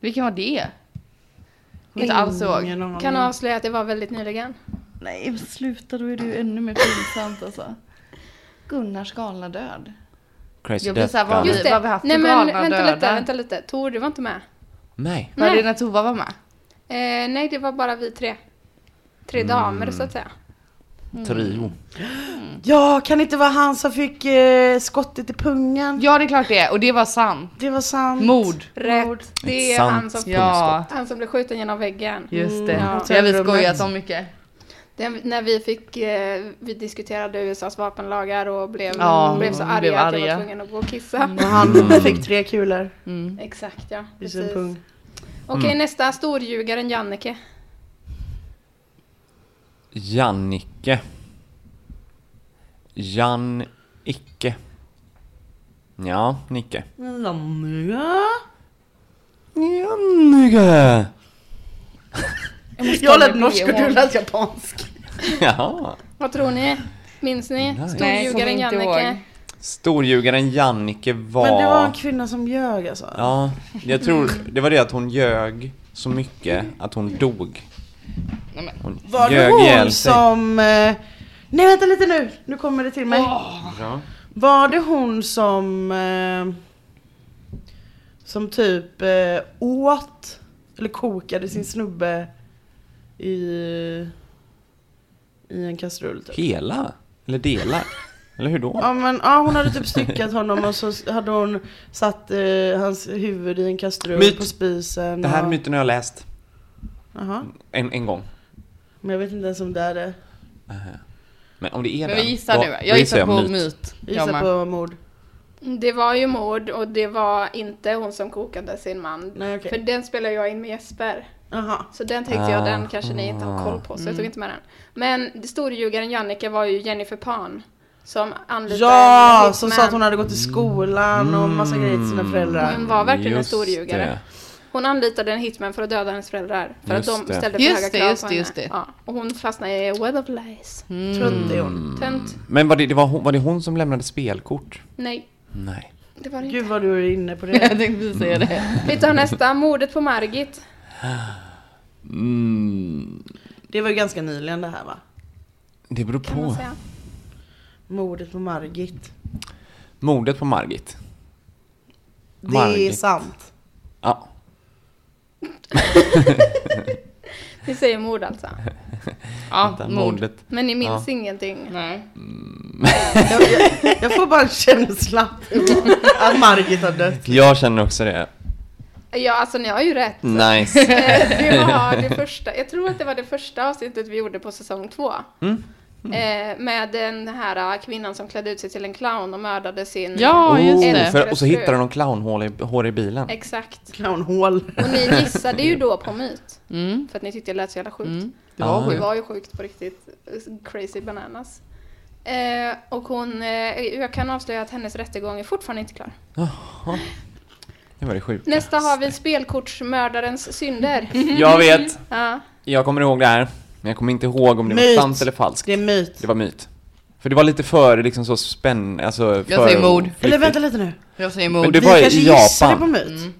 Speaker 2: Vilken var det? Inte alls ihåg.
Speaker 3: Ingen aning.
Speaker 1: Kan avslöja att det var väldigt nyligen.
Speaker 2: Nej men sluta, då är det ju ännu mer pinsamt alltså. Gunnars galna död.
Speaker 4: Crazy
Speaker 2: Jag blir
Speaker 4: Death
Speaker 2: såhär, vad
Speaker 4: Gun.
Speaker 2: vi-
Speaker 1: Just det.
Speaker 2: Vad har haft
Speaker 1: Nej
Speaker 2: för
Speaker 1: men
Speaker 2: galna
Speaker 1: vänta lite,
Speaker 2: döda?
Speaker 1: vänta lite. Tor, du var inte med.
Speaker 4: Nej.
Speaker 2: Var
Speaker 1: Nej.
Speaker 2: det när Tova var med?
Speaker 1: Eh, nej, det var bara vi tre. Tre
Speaker 4: Mm.
Speaker 1: damer så att säga.
Speaker 2: Mm.
Speaker 4: Trio.
Speaker 3: Ja, kan inte vara han som fick eh, skottet i pungen?
Speaker 2: Ja det är klart det är, och det var sant.
Speaker 3: Det var sant.
Speaker 2: Mord.
Speaker 1: Rätt. Det är
Speaker 4: Sant.
Speaker 1: han som,
Speaker 2: Ja,
Speaker 1: han som blev skjuten genom väggen.
Speaker 2: just det.
Speaker 1: Ja.
Speaker 2: Vi har vi skojat om mycket.
Speaker 1: Den, när vi fick, eh, vi diskuterade USAs vapenlagar och blev, mm,
Speaker 2: Ja,
Speaker 1: blev så
Speaker 2: blev
Speaker 1: arga, att jag
Speaker 2: arga.
Speaker 1: var tvungen att gå och kissa.
Speaker 3: Och han *laughs* fick tre kulor
Speaker 1: *laughs* Exakt ja,
Speaker 3: i sin
Speaker 1: precis.
Speaker 3: pung.
Speaker 1: Okej,
Speaker 4: Mm.
Speaker 1: nästa storljugaren Jannike.
Speaker 4: Jannike. Jan-icke. Ja, Nicke.
Speaker 3: Lanniga.
Speaker 4: *laughs* Jannike!
Speaker 3: Jag lät norsk och du lät japansk.
Speaker 4: Jaha.
Speaker 1: Vad tror ni? Minns ni?
Speaker 4: Nej.
Speaker 2: Nej, kommer
Speaker 1: Storljugaren
Speaker 2: inte
Speaker 1: Jannike.
Speaker 2: ihåg.
Speaker 4: Storljugaren Jannike var...
Speaker 3: Men det var en kvinna som ljög alltså.
Speaker 4: Ja, jag tror det var det att hon ljög så mycket att hon dog. Hon
Speaker 3: Var det hon som... eh, Nej vänta lite nu, nu kommer det till mig.
Speaker 4: Ja.
Speaker 3: Var det hon som... eh, Som typ eh, åt, eller kokade sin snubbe i... I en kastrull typ.
Speaker 4: Hela? Eller delar? Eller hur då?
Speaker 3: Ja, men, ja, hon hade typ styckat honom och så hade hon satt eh, hans huvud i en kastrull
Speaker 4: Myt.
Speaker 3: på spisen.
Speaker 4: Det här
Speaker 3: och,
Speaker 4: myten har jag läst
Speaker 3: Jaha.
Speaker 4: en, en gång.
Speaker 3: Men jag vet inte ens om det är det.
Speaker 4: Men om det är den,
Speaker 2: Men vi gissar
Speaker 4: då-
Speaker 2: nu.
Speaker 4: då
Speaker 2: Jag gissar på
Speaker 4: myt.
Speaker 2: myt. Jag
Speaker 3: Gissa
Speaker 2: med.
Speaker 3: på mord.
Speaker 1: Det var ju mord och det var inte hon som kokade sin man.
Speaker 3: Nej, okej.
Speaker 1: För den spelar jag in med Jesper.
Speaker 3: Jaha.
Speaker 1: Så den tänkte jag,
Speaker 4: Ah.
Speaker 1: den kanske ni inte har koll på, så
Speaker 3: Mm.
Speaker 1: jag tog inte med den. Men det storljugaren Jannica var ju Jennifer Pan. Som anlitade
Speaker 3: Ja,
Speaker 1: en
Speaker 3: som
Speaker 1: hitman.
Speaker 3: sa att hon hade gått i skolan
Speaker 4: Mm.
Speaker 3: och massa grejer till sina föräldrar.
Speaker 1: Hon var verkligen en
Speaker 4: Just
Speaker 1: storljugare. Hon anlitade en hitman för att döda hennes föräldrar. För
Speaker 4: Just
Speaker 1: att de
Speaker 4: det.
Speaker 1: ställde för
Speaker 2: Just
Speaker 1: höga
Speaker 2: det,
Speaker 1: krav
Speaker 2: just
Speaker 1: på
Speaker 2: det,
Speaker 1: henne.
Speaker 2: just det.
Speaker 1: Ja, och hon fastnade i Web of Lies.
Speaker 3: Trött är
Speaker 1: Mm.
Speaker 2: Mm.
Speaker 3: hon.
Speaker 1: Tönt?
Speaker 4: Men var det, det var, hon, var det hon som lämnade spelkort?
Speaker 1: Nej,
Speaker 4: Nej.
Speaker 1: det var det inte.
Speaker 3: Gud vad du är inne på
Speaker 2: Jag
Speaker 3: det.
Speaker 2: tänkte precis säga det.
Speaker 1: Vi tar nästa, mordet på Margit.
Speaker 3: Det var ju ganska nyligen det här va?
Speaker 4: Det beror
Speaker 1: Kan man
Speaker 4: på.
Speaker 1: säga.
Speaker 3: Mordet på Margit.
Speaker 4: Mordet på Margit.
Speaker 3: Det är
Speaker 4: Margit.
Speaker 3: sant.
Speaker 4: Ja.
Speaker 1: Ni säger mord alltså.
Speaker 2: Ja, mord.
Speaker 4: Mordet.
Speaker 1: Men ni minns ingenting.
Speaker 2: Nej.
Speaker 3: Jag, jag, jag får bara en känsla att Margit har dött.
Speaker 4: Jag känner också det.
Speaker 1: Ja, alltså ni har ju rätt. *laughs*
Speaker 4: Nice. *laughs*
Speaker 1: Eh, Det var det första, jag tror att det var det första avsnittet vi gjorde på säsong två.
Speaker 4: Mm.
Speaker 1: Eh, Med den här eh, kvinnan som klädde ut sig till en clown och mördade sin...
Speaker 2: Ja, just
Speaker 4: Oh,
Speaker 2: det.
Speaker 4: för, och så hittar de någon clownhål i, hår i bilen.
Speaker 1: Exakt.
Speaker 3: Clownhål.
Speaker 1: Och ni *laughs* gissade ju då på myt. För att ni tyckte det lät så jävla sjukt.
Speaker 2: Det var
Speaker 1: Mm. Det
Speaker 2: sjukt.
Speaker 1: var ju sjukt på riktigt. Crazy bananas. Eh, och hon, eh, jag kan avslöja att hennes rättegång är fortfarande inte klar.
Speaker 4: Det var det sjuka.
Speaker 1: Nästa har vi spelkortsmördarens *laughs* synder.
Speaker 4: Jag vet.
Speaker 1: Ja.
Speaker 4: Jag kommer ihåg det här. Men jag kommer inte ihåg om det
Speaker 3: Myt.
Speaker 4: var sant eller falskt.
Speaker 3: Det är myt.
Speaker 4: Det var myt. För det var lite för liksom så spänn... Alltså för...
Speaker 2: säger mord.
Speaker 3: Eller vänta lite nu.
Speaker 2: Jag säger
Speaker 4: Men
Speaker 2: mord.
Speaker 4: det var
Speaker 3: vi
Speaker 4: i
Speaker 3: kanske gissade
Speaker 4: Japan.
Speaker 3: på myt.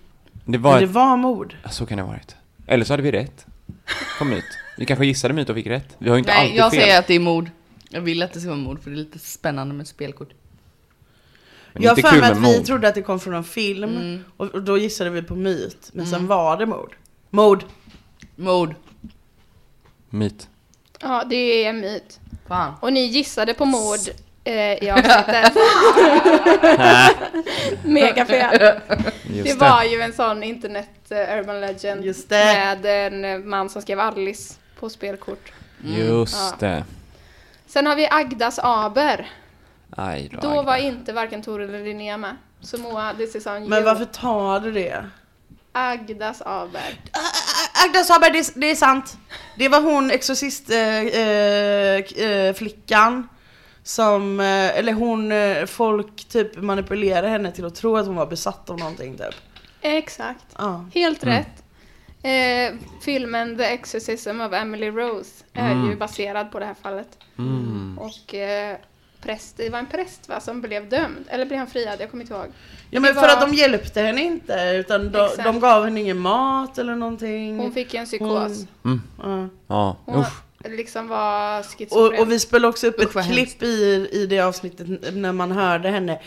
Speaker 4: Det var
Speaker 3: Men det
Speaker 4: ett...
Speaker 3: var mord.
Speaker 4: Så kan det ha varit. Eller så hade vi rätt. På myt. Vi kanske gissade myt och fick rätt. Vi har ju inte
Speaker 2: Nej,
Speaker 4: alltid
Speaker 2: jag
Speaker 4: fel.
Speaker 2: säger att det är mord. Jag vill att det ska vara mord för det är lite spännande med spelkort.
Speaker 4: Men
Speaker 3: jag har
Speaker 4: inte
Speaker 3: för
Speaker 4: kul
Speaker 3: mig
Speaker 4: med
Speaker 3: att vi
Speaker 4: mord.
Speaker 3: trodde att det kom från någon film och, och då gissade vi på myt. Men sen var det mord. Mord.
Speaker 2: Mord.
Speaker 4: Myt.
Speaker 1: ja, det är en myt.
Speaker 2: Fan.
Speaker 1: Och ni gissade på mord *laughs* eh, i avsnittet. Mega fel.
Speaker 4: Just
Speaker 1: Det var ju en sån internet eh, urban legend
Speaker 3: Just det.
Speaker 1: med en eh, man som skrev Alice på spelkort.
Speaker 4: Just det.
Speaker 1: Sen har vi Agdas Aber.
Speaker 4: Aj då.
Speaker 1: Då var inte varken Tor eller Linnea med. Så Moa, this is on you.
Speaker 3: Men varför tar du det?
Speaker 1: Agdas Aber.
Speaker 3: Agda Saberg, det, det är sant. Det var hon, exorcistflickan. Eh, k- eh, flickan som, eh, eller hon, eh, folk typ manipulerade henne till att tro att hon var besatt av någonting typ.
Speaker 1: Exakt.
Speaker 3: Ja.
Speaker 1: Helt rätt. Eh, filmen The Exorcism of Emily Rose är ju baserad på det här fallet. Och eh, präst, det var en präst va, som blev dömd. Eller blev han friad? Jag kommer inte ihåg.
Speaker 3: ja men
Speaker 1: Det
Speaker 3: för
Speaker 1: var-
Speaker 3: att de hjälpte henne inte utan de,
Speaker 1: Exakt.
Speaker 3: de gav henne ingen mat eller någonting.
Speaker 1: Hon fick ju en psykos.
Speaker 3: Ja.
Speaker 4: Ja.
Speaker 1: Hon
Speaker 4: Usch.
Speaker 1: liksom var schizofren.
Speaker 3: Och, och vi spelade också upp
Speaker 2: vad
Speaker 3: ett klipp i, i det avsnittet n- när man hörde henne "Äh",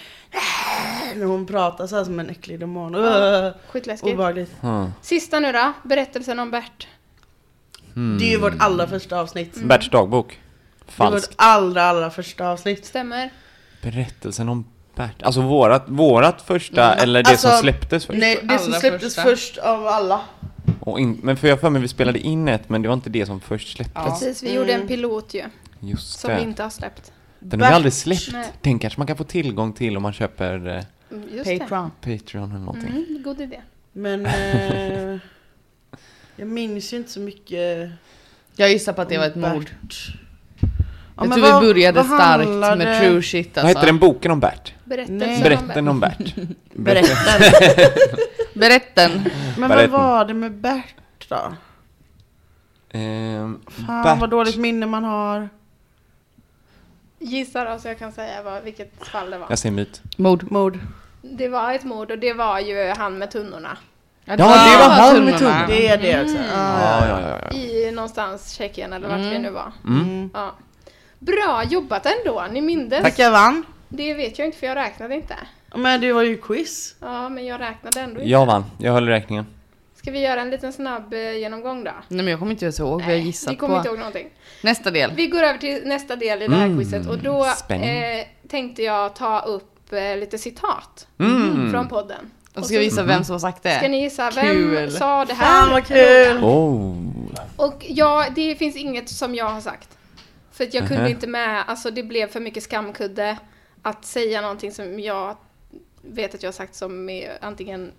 Speaker 3: när hon pratade så här som en äcklig demon. Ja.
Speaker 1: Skitläskigt.
Speaker 3: Obehagligt.
Speaker 1: Sista nu då, berättelsen om Bert.
Speaker 3: Det är ju vårt allra första avsnitt.
Speaker 4: Berts dagbok.
Speaker 3: Det är vårt
Speaker 4: Falskt.
Speaker 3: allra, allra första avsnitt.
Speaker 1: Stämmer?
Speaker 4: Berättelsen om Bert. Alltså vårat, vårat första eller det
Speaker 3: Alltså,
Speaker 4: som släpptes först.
Speaker 3: Nej, det som
Speaker 2: Allra
Speaker 3: släpptes
Speaker 2: första.
Speaker 3: först av alla.
Speaker 4: Och in, men för jag har för mig vi spelade in ett men det var inte det som först släpptes.
Speaker 1: Precis, vi gjorde
Speaker 3: Mm.
Speaker 1: en pilot ju.
Speaker 4: Just
Speaker 1: Som
Speaker 4: det.
Speaker 1: vi inte har släppt.
Speaker 4: Den har vi aldrig släppt.
Speaker 1: Nej.
Speaker 4: Den kanske man kan få tillgång till om man köper eh,
Speaker 1: Mm, Just
Speaker 2: Patreon.
Speaker 4: Patreon eller någonting.
Speaker 1: det. Mm, god idé.
Speaker 3: Men eh, *laughs* jag minns ju inte så mycket.
Speaker 2: Jag gissar på att det var ett
Speaker 3: Bert.
Speaker 2: mord.
Speaker 3: Ja,
Speaker 2: jag
Speaker 3: men
Speaker 2: tror
Speaker 3: vad-
Speaker 2: vi började
Speaker 3: vad
Speaker 2: starkt
Speaker 3: handlade-
Speaker 2: med true shit
Speaker 4: Vad
Speaker 2: alltså.
Speaker 4: hette den boken om Bert?
Speaker 1: Berättelsen
Speaker 3: Nej.
Speaker 1: Eh, om
Speaker 4: Berätten
Speaker 1: Bert.
Speaker 4: om Bert.
Speaker 3: Berätta.
Speaker 2: Berätten.
Speaker 3: Men vad
Speaker 4: Berätta.
Speaker 3: var det med Bert då?
Speaker 4: Ehm,
Speaker 3: Fan
Speaker 4: Bert.
Speaker 3: vad dåligt minne man har.
Speaker 1: Gissa då så jag kan säga vad, vilket fall det var.
Speaker 4: Jag säger myt.
Speaker 2: Mord.
Speaker 3: Mord.
Speaker 1: Det var ett mord och det var ju han med tunnorna.
Speaker 2: Ja,
Speaker 4: det
Speaker 2: Ah,
Speaker 4: var han med tunnan.
Speaker 2: *laughs*
Speaker 3: Det är det också.
Speaker 2: Mm.
Speaker 3: Ja.
Speaker 4: Ja, ja, ja, ja.
Speaker 1: I någonstans Tjeckien eller vart vi nu var. Ja. Bra jobbat ändå, ni mindes.
Speaker 3: Tack jag vann.
Speaker 1: Det vet jag inte för jag räknade inte.
Speaker 3: Men det var ju quiz.
Speaker 1: Ja, men jag räknade ändå inte.
Speaker 4: Jag vann. Jag höll räkningen.
Speaker 1: Ska vi göra en liten snabb eh, genomgång då?
Speaker 2: Nej men jag kommer inte ens ihåg vad jag
Speaker 1: vi
Speaker 2: gissat
Speaker 1: kommer
Speaker 2: på.
Speaker 1: inte ihåg någonting.
Speaker 2: Nästa del. Mm.
Speaker 1: Vi går över till nästa del i det här quizet och då
Speaker 4: spännande.
Speaker 1: eh, tänkte jag ta upp eh, lite citat från podden.
Speaker 2: Och Mm. ska vi gissa
Speaker 4: Mm.
Speaker 2: vem som har sagt det?
Speaker 1: Ska ni gissa, vem
Speaker 2: Kul.
Speaker 1: sa det här?
Speaker 3: Fan vad kul!
Speaker 4: Oh.
Speaker 1: Och ja, det finns inget som jag har sagt. För att jag kunde
Speaker 4: Mhm.
Speaker 1: inte med, alltså det blev för mycket skamkudde att säga någonting som jag vet att jag har sagt som är antingen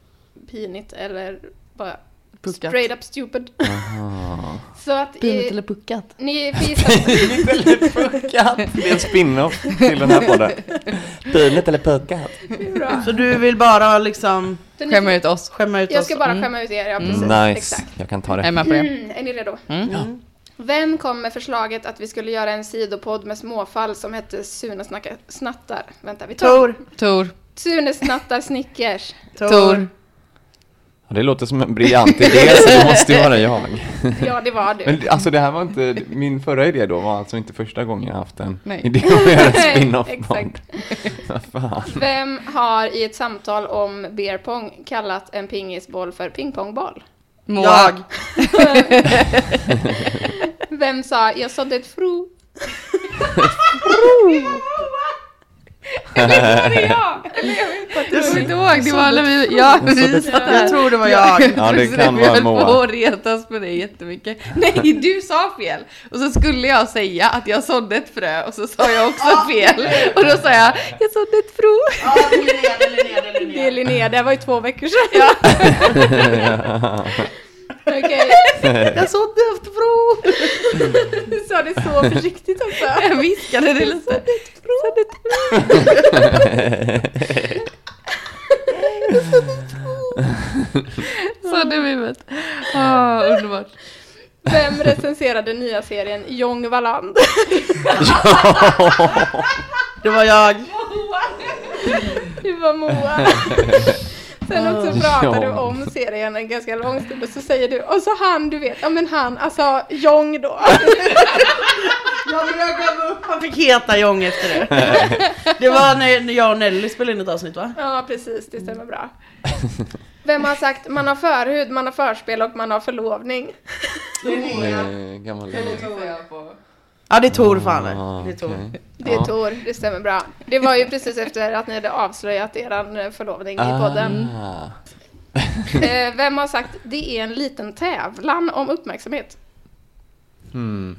Speaker 1: pinigt eller bara
Speaker 2: Puckat.
Speaker 1: straight up stupid. Så att... eh,
Speaker 2: Pinigt eller puckat?
Speaker 1: Ni får
Speaker 2: *laughs*
Speaker 1: gissa.
Speaker 4: Pinigt eller puckat? Det är en spin-off till den här podden. Pinigt eller puckat?
Speaker 3: Så du vill bara liksom
Speaker 1: Så ni-
Speaker 2: Skämma ut oss.
Speaker 3: skämma ut
Speaker 1: Jag
Speaker 3: oss?
Speaker 1: ska bara skämma ut er, ja precis.
Speaker 4: Mm. Nice,
Speaker 1: Exakt.
Speaker 4: jag kan ta
Speaker 2: Jag är
Speaker 4: det.
Speaker 2: med på det.
Speaker 1: Mm, är ni redo? Vem kom med förslaget att vi skulle göra en sidopodd med småfall som hette Sune snacka, snattar? Vänta, vi tar...
Speaker 3: Tor!
Speaker 2: Tor.
Speaker 1: Sune snattar Snickers.
Speaker 2: Tor.
Speaker 4: Ja, Det låter som en briljant idé så det måste ju vara jag.
Speaker 1: Ja, det var du.
Speaker 4: *laughs* Men det- alltså det här var inte, min förra idé då var alltså inte första gången jag haft en
Speaker 2: Nej.
Speaker 4: idé om att göra en spin-off
Speaker 1: Exakt.
Speaker 4: Vad fan.
Speaker 1: Vem har i ett samtal om beer pong kallat en pingisboll för pingpongboll?
Speaker 2: Moa.
Speaker 3: Jag.
Speaker 1: Vem sa jag sådde ett
Speaker 4: *laughs*
Speaker 1: fro? *laughs*
Speaker 4: *laughs*
Speaker 2: Jag kommer inte ihåg, det var när vi, ja, vi satt här.
Speaker 3: Jag tror det var jag.
Speaker 4: Ja, det
Speaker 2: Precis,
Speaker 4: kan
Speaker 2: vi
Speaker 4: vara
Speaker 2: höll
Speaker 4: Moa.
Speaker 2: på att retas med dig jättemycket. Nej, du sa fel! Och så skulle jag säga att jag sådde ett frö och så sa jag också
Speaker 1: *laughs*
Speaker 2: fel. Och då sa jag, jag sådde ett frö.
Speaker 1: Det är Linnea, det här var ju två veckor sedan. Ja.
Speaker 4: *laughs*
Speaker 1: Okej,
Speaker 2: Jag sådde ett frö.
Speaker 1: du sa det så försiktigt också.
Speaker 2: Jag viskade det lite. Sådde i huvudet. Ah, underbart.
Speaker 1: Vem recenserade nya serien Jong Valand?
Speaker 3: Det var jag.
Speaker 1: Det var Moa. Sen också
Speaker 2: Ah.
Speaker 1: pratade du
Speaker 4: Ja.
Speaker 1: om serien en ganska lång stund och så säger du, och så han du vet, ja men han, alltså Jong då.
Speaker 3: Jag gav upp. Han fick heta Jong efter *laughs* det. Det var när när jag och Nelly spelade in ett avsnitt va?
Speaker 1: Ja, precis. Det stämmer bra. Vem har sagt man har förhud, man har förspel och man har förlovning?
Speaker 4: Nej, gammal
Speaker 3: Ja det är Tor fan
Speaker 4: Ah,
Speaker 3: det. är Tor.
Speaker 4: okej.
Speaker 1: Det är Tor, det stämmer bra. Det var ju precis efter att ni hade avslöjat eran eh, förlovning i podden.
Speaker 4: Ah.
Speaker 1: Eh, Vem har sagt det är en liten tävlan om uppmärksamhet?
Speaker 4: *laughs* Hmm.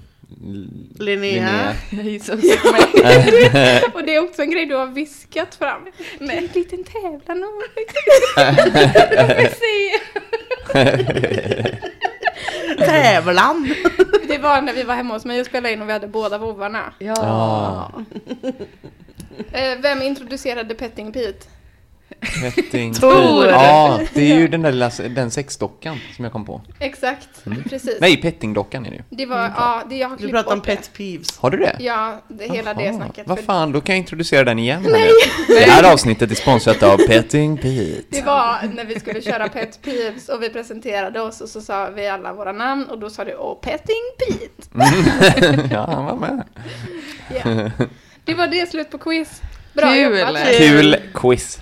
Speaker 3: Linnea.
Speaker 2: Jag gissar också på mig.
Speaker 1: Och det är också en grej du har viskat fram. Det är en liten tävlan om uppmärksamhet.
Speaker 3: Tävlan!
Speaker 1: *laughs* Det var när vi var hemma hos mig och spelade in och vi hade båda vovvarna.
Speaker 4: Ah,
Speaker 1: Eh, Vem introducerade Petting Pete?
Speaker 4: petting.
Speaker 3: Tor.
Speaker 4: Ja, ah, det är ju den där lilla, den sexdockan som jag kom på.
Speaker 1: Exakt, precis.
Speaker 4: Mm. Nej, pettingdockan är det ju.
Speaker 1: Det var, ja, det, jag har
Speaker 3: Du
Speaker 1: klippt
Speaker 3: pratar om
Speaker 1: bort det.
Speaker 3: pet peeves.
Speaker 4: Har du det?
Speaker 1: Ja, det, hela det
Speaker 4: Ah,
Speaker 1: snacket.
Speaker 4: Vad
Speaker 1: För
Speaker 4: fan, då kan jag introducera den igen. Nej. Det här avsnittet är sponsrat av Petting Pete. *laughs*
Speaker 1: Det var när vi skulle köra Pet Peeves och vi presenterade oss och så sa vi alla våra namn och då sa du Åh, Petting Pete.
Speaker 4: ja, han var med.
Speaker 1: Ja. Det var det slut på quiz. Bra
Speaker 2: Kul.
Speaker 1: jobbat.
Speaker 3: Kul.
Speaker 4: Kul quiz.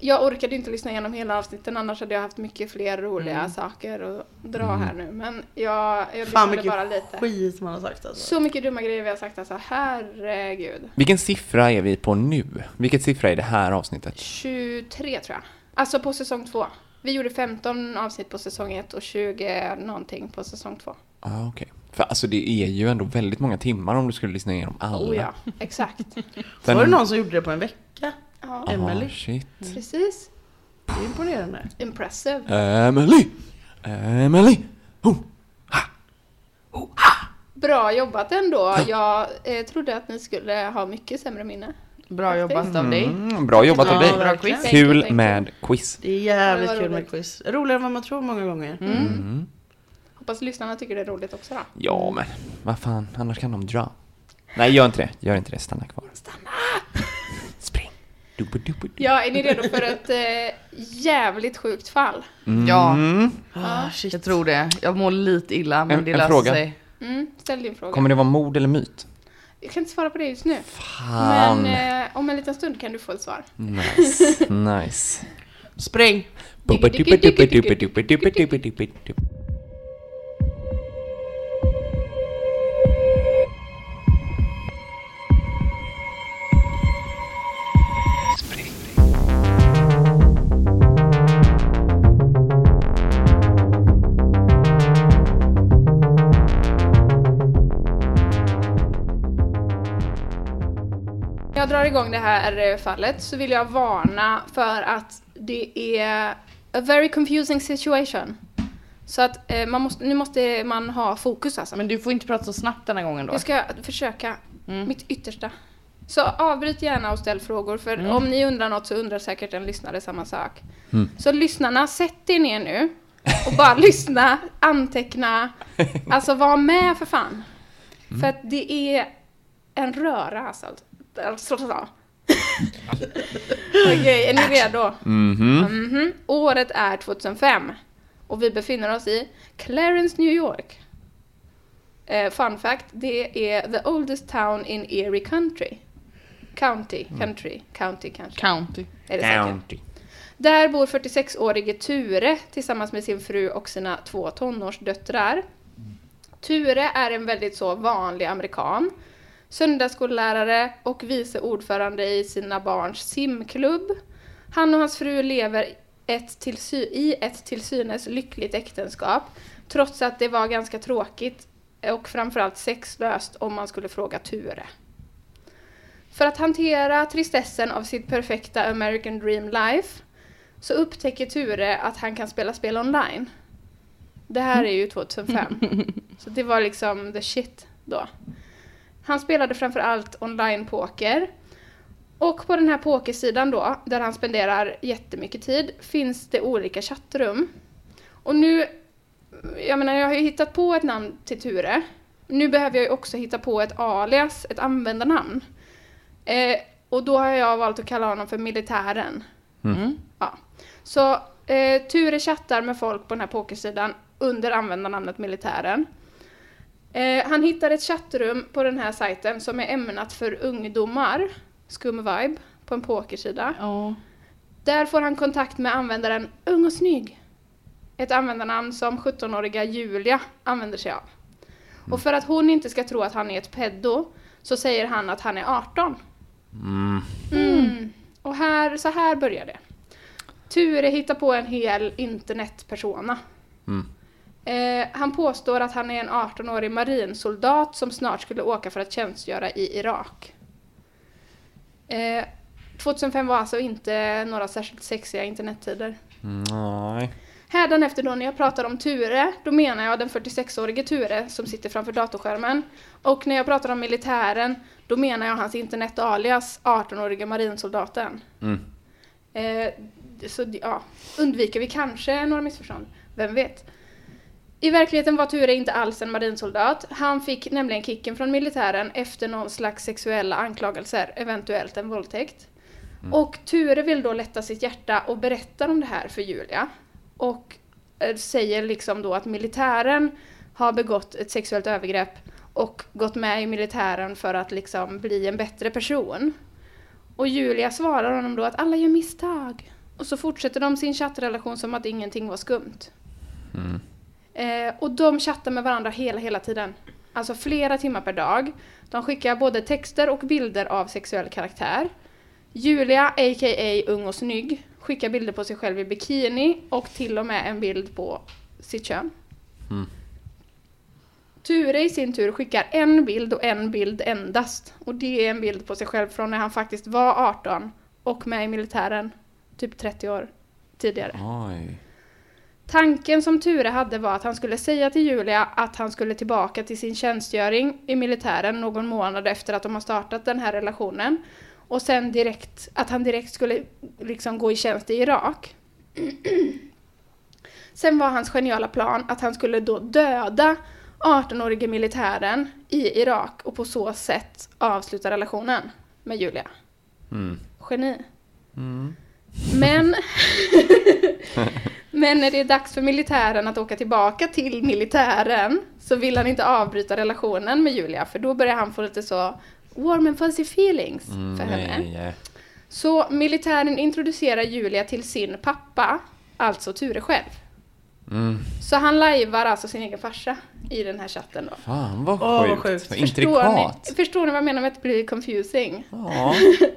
Speaker 1: Jag orkade inte lyssna igenom hela avsnitten annars hade jag haft mycket fler roliga saker att dra här nu. Men jag, jag
Speaker 3: Fan
Speaker 1: lyssnade bara
Speaker 3: mycket
Speaker 1: lite.
Speaker 3: skit man har sagt alltså.
Speaker 1: Så mycket dumma grejer vi har sagt alltså. Herregud.
Speaker 4: Vilken siffra är vi på nu? Vilket siffra är det här avsnittet?
Speaker 1: 23 tror jag. Alltså på säsong två. Vi gjorde 15 avsnitt på säsong ett och 20 någonting på säsong två.
Speaker 4: Ah, okej. För alltså det är ju ändå väldigt många timmar om du skulle lyssna igenom alla.
Speaker 1: Oh ja, exakt.
Speaker 4: Den-
Speaker 3: Var det någon som gjorde det på en vecka?
Speaker 1: Ja,
Speaker 4: Ah,
Speaker 3: Emily.
Speaker 4: shit.
Speaker 1: precis.
Speaker 3: Det är imponerande.
Speaker 1: Impressive.
Speaker 4: Emily! Emily! Oh.
Speaker 1: Bra jobbat ändå. Jag eh, trodde att ni skulle ha mycket sämre minne.
Speaker 2: Bra jobbat av dig.
Speaker 4: Mm, bra jobbat av
Speaker 3: Ja, bra
Speaker 4: dig.
Speaker 3: quiz.
Speaker 1: Thank you,
Speaker 4: Kul
Speaker 1: thank you.
Speaker 4: med quiz.
Speaker 3: Det är jävligt
Speaker 1: Ja, det var
Speaker 3: kul med
Speaker 1: roligt. Mm.
Speaker 3: quiz. Roligare än vad man tror många gånger.
Speaker 1: Hoppas lyssnarna tycker det är roligt också då.
Speaker 4: Ja, men Mm. vad fan, annars kan de dra. Nej, gör inte det. Gör inte det. Stanna kvar. Stanna! Spring! Dubu, dubu, dubu.
Speaker 1: Ja, är ni redo för ett eh, jävligt sjukt fall?
Speaker 2: Ja,
Speaker 4: Mm.
Speaker 3: Ah, shit.
Speaker 2: jag tror det. Jag mår lite illa men
Speaker 4: En-
Speaker 2: det
Speaker 4: en
Speaker 2: löser
Speaker 4: fråga.
Speaker 2: sig.
Speaker 1: Mm, ställ din fråga.
Speaker 4: Kommer det vara mord eller *laughs* myt?
Speaker 1: Jag kan inte svara på det just nu.
Speaker 4: Fan!
Speaker 1: Men eh, om en liten stund kan du få ett svar.
Speaker 4: Nice. nice.
Speaker 3: Spräng!
Speaker 4: Bubu, dubu, dubu, dubu, dubu, dubu, dubu, dubu, dubu.
Speaker 1: jag drar igång det här eh, fallet så vill jag varna för att det är a very confusing situation. Så att eh, man måste, nu måste man ha fokus alltså.
Speaker 2: Men du får inte prata så snabbt denna gången då. Mm.
Speaker 1: Jag ska försöka mitt yttersta. Så avbryt gärna och ställ frågor, för
Speaker 2: Mm.
Speaker 1: om ni undrar något så undrar säkert en lyssnare samma sak. Så lyssnarna, sätt er ner nu och bara lyssna, anteckna, alltså var med för fan. För att det är en röra alltså. alltså så. Okej, är ni redo? Mhm. Året är 2005 och vi befinner oss i Clarence, New York. Eh, fun fact, det är the oldest town in Erie Country. County, country, county kanske.
Speaker 2: County.
Speaker 1: Är det säkert. Där bor 46-årige Ture tillsammans med sin fru och sina två tonårsdöttrar. Ture är en väldigt så vanlig amerikan, söndagsskollärare och vice ordförande i sina barns simklubb. Han och hans fru lever ett till sy- i ett till synes lyckligt äktenskap, trots att det var ganska tråkigt och framförallt sexlöst om man skulle fråga Ture. För att hantera tristessen av sitt perfekta American Dream Life så upptäcker Ture att han kan spela spel online. Det här är ju 2005. Så det var liksom the shit då. Han spelade framförallt online-poker. Och på den här pokersidan då, där han spenderar jättemycket tid, finns det olika chattrum. Och nu, jag menar jag har ju hittat på ett namn till Ture. Nu behöver jag ju också hitta på ett alias, ett användarnamn. Eh, och då har jag valt att kalla honom för militären. Mm. Ja. Så eh, Ture chattar med folk på den här pokersidan under användarnamnet militären. Eh, han hittar ett chattrum på den här sajten som är ämnat för ungdomar, skum vibe, på en pokersida.
Speaker 2: Ja.
Speaker 1: Där får han kontakt med användaren Ung och snygg. Ett användarnamn som 17-åriga Julia använder sig av. Och för att hon inte ska tro att han är ett peddo så säger han att han är 18. Mm. Och här, så här börjar det. Ture hittar på en hel internetpersona. Eh, han påstår att han är en 18-årig marinsoldat som snart skulle åka för att tjänstgöra i Irak. Eh, 2005 var alltså inte några särskilt sexiga internettider.
Speaker 4: Nej.
Speaker 1: Hädanefter då när jag pratar om Ture, då menar jag den 46-årige Ture som sitter framför datorskärmen. Och när jag pratar om militären, då menar jag hans internetalias, 18-åriga marinsoldaten. Eh, så det- ja, undviker vi kanske några missförstånd, vem vet? I verkligheten var Ture inte alls en marinsoldat. Han fick nämligen kicken från militären efter någon slags sexuella anklagelser, eventuellt en våldtäkt. Och Ture vill då lätta sitt hjärta och berättar om det här för Julia. Och eh, säger liksom då att militären har begått ett sexuellt övergrepp och gått med i militären för att liksom bli en bättre person. Och Julia svarar honom då att alla gör misstag. Och så fortsätter de sin chattrelation som att ingenting var skumt. Eh, och de chattar med varandra hela, hela tiden. Alltså flera timmar per dag. De skickar både texter och bilder av sexuell karaktär. Julia, a.k.a. ung och snygg, skickar bilder på sig själv i bikini och till och med en bild på sitt kön. Ture i sin tur skickar en bild och en bild endast. Och det är en bild på sig själv från när han faktiskt var 18 och med i militären typ 30 år tidigare.
Speaker 4: Oj.
Speaker 1: Tanken som Ture hade var att han skulle säga till Julia att han skulle tillbaka till sin tjänstgöring i militären någon månad efter att de har startat den här relationen. Och sen direkt, att han direkt skulle liksom gå i tjänst i Irak. Sen var hans geniala plan att han skulle då döda 18-årige militären i Irak och på så sätt avsluta relationen med Julia. Geni. Men men när det är dags för militären att åka tillbaka till militären så vill han inte avbryta relationen med Julia för då börjar han få lite så warm and fuzzy feelings för henne.
Speaker 4: Mm, Nej.
Speaker 1: Så militären introducerar Julia till sin pappa, alltså Ture själv.
Speaker 4: Mm.
Speaker 1: Så han lajvar alltså sin egen farsa i den här chatten då.
Speaker 4: Fan vad
Speaker 3: Åh, vad
Speaker 4: sjukt.
Speaker 3: sjukt.
Speaker 4: Vad
Speaker 1: Förstår
Speaker 4: intrikat.
Speaker 1: ni, förstår ni vad jag menar med att bli confusing? *laughs*
Speaker 4: Ja,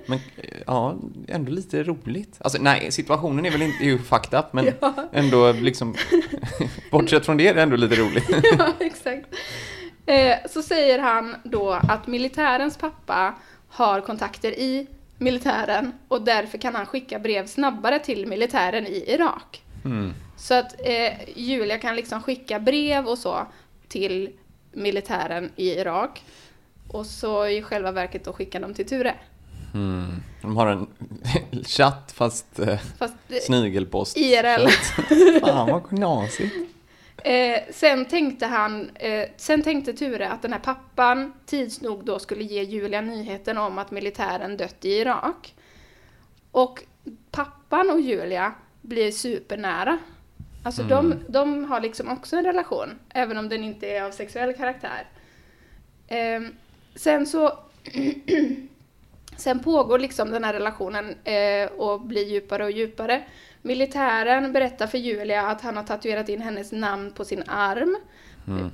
Speaker 4: men eh, ja, ändå lite roligt. Alltså nej, situationen är väl inte är ju fucked up, men ändå liksom, *laughs* bortsett från det är det ändå lite roligt.
Speaker 1: *laughs* ja, exakt. Eh, så säger han då att militärens pappa har kontakter i militären och därför kan han skicka brev snabbare till militären i Irak. Så att eh, Julia kan liksom skicka brev och så till militären i Irak. Och så i själva verket då skickar de till Ture.
Speaker 4: De har en *laughs* chatt fast eh,
Speaker 1: Fast eh,
Speaker 4: snigelpost.
Speaker 1: IRL. *laughs*
Speaker 4: Fan vad knasigt.
Speaker 1: Eh, sen tänkte han, eh, sen tänkte Ture att den här pappan tids nog då skulle ge Julia nyheten om att militären dött i Irak. Och pappan och Julia blir supernära. Alltså de, de har liksom också en relation, även om den inte är av sexuell karaktär. Ehm, sen så *clears throat* Sen pågår liksom den här relationen eh, och blir djupare och djupare. Militären berättar för Julia att han har tatuerat in hennes namn på sin arm.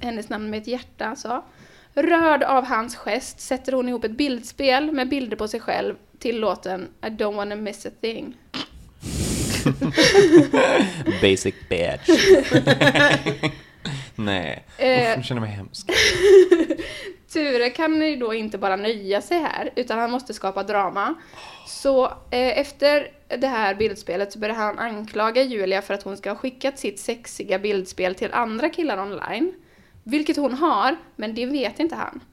Speaker 1: Hennes namn med ett hjärta alltså. Rörd av hans gest sätter hon ihop ett bildspel med bilder på sig själv till låten I don't wanna miss a thing.
Speaker 4: Basic
Speaker 1: *laughs*
Speaker 4: bitch. Nej,
Speaker 1: Eh.
Speaker 4: Uff, nu känner jag mig hemsk.
Speaker 1: Ture kan ju då inte bara nöja sig här, utan han måste skapa drama. Så eh, efter det här bildspelet så börjar han anklaga Julia för att hon ska ha skickat sitt sexiga bildspel till andra killar online. Vilket hon har, men det vet inte han.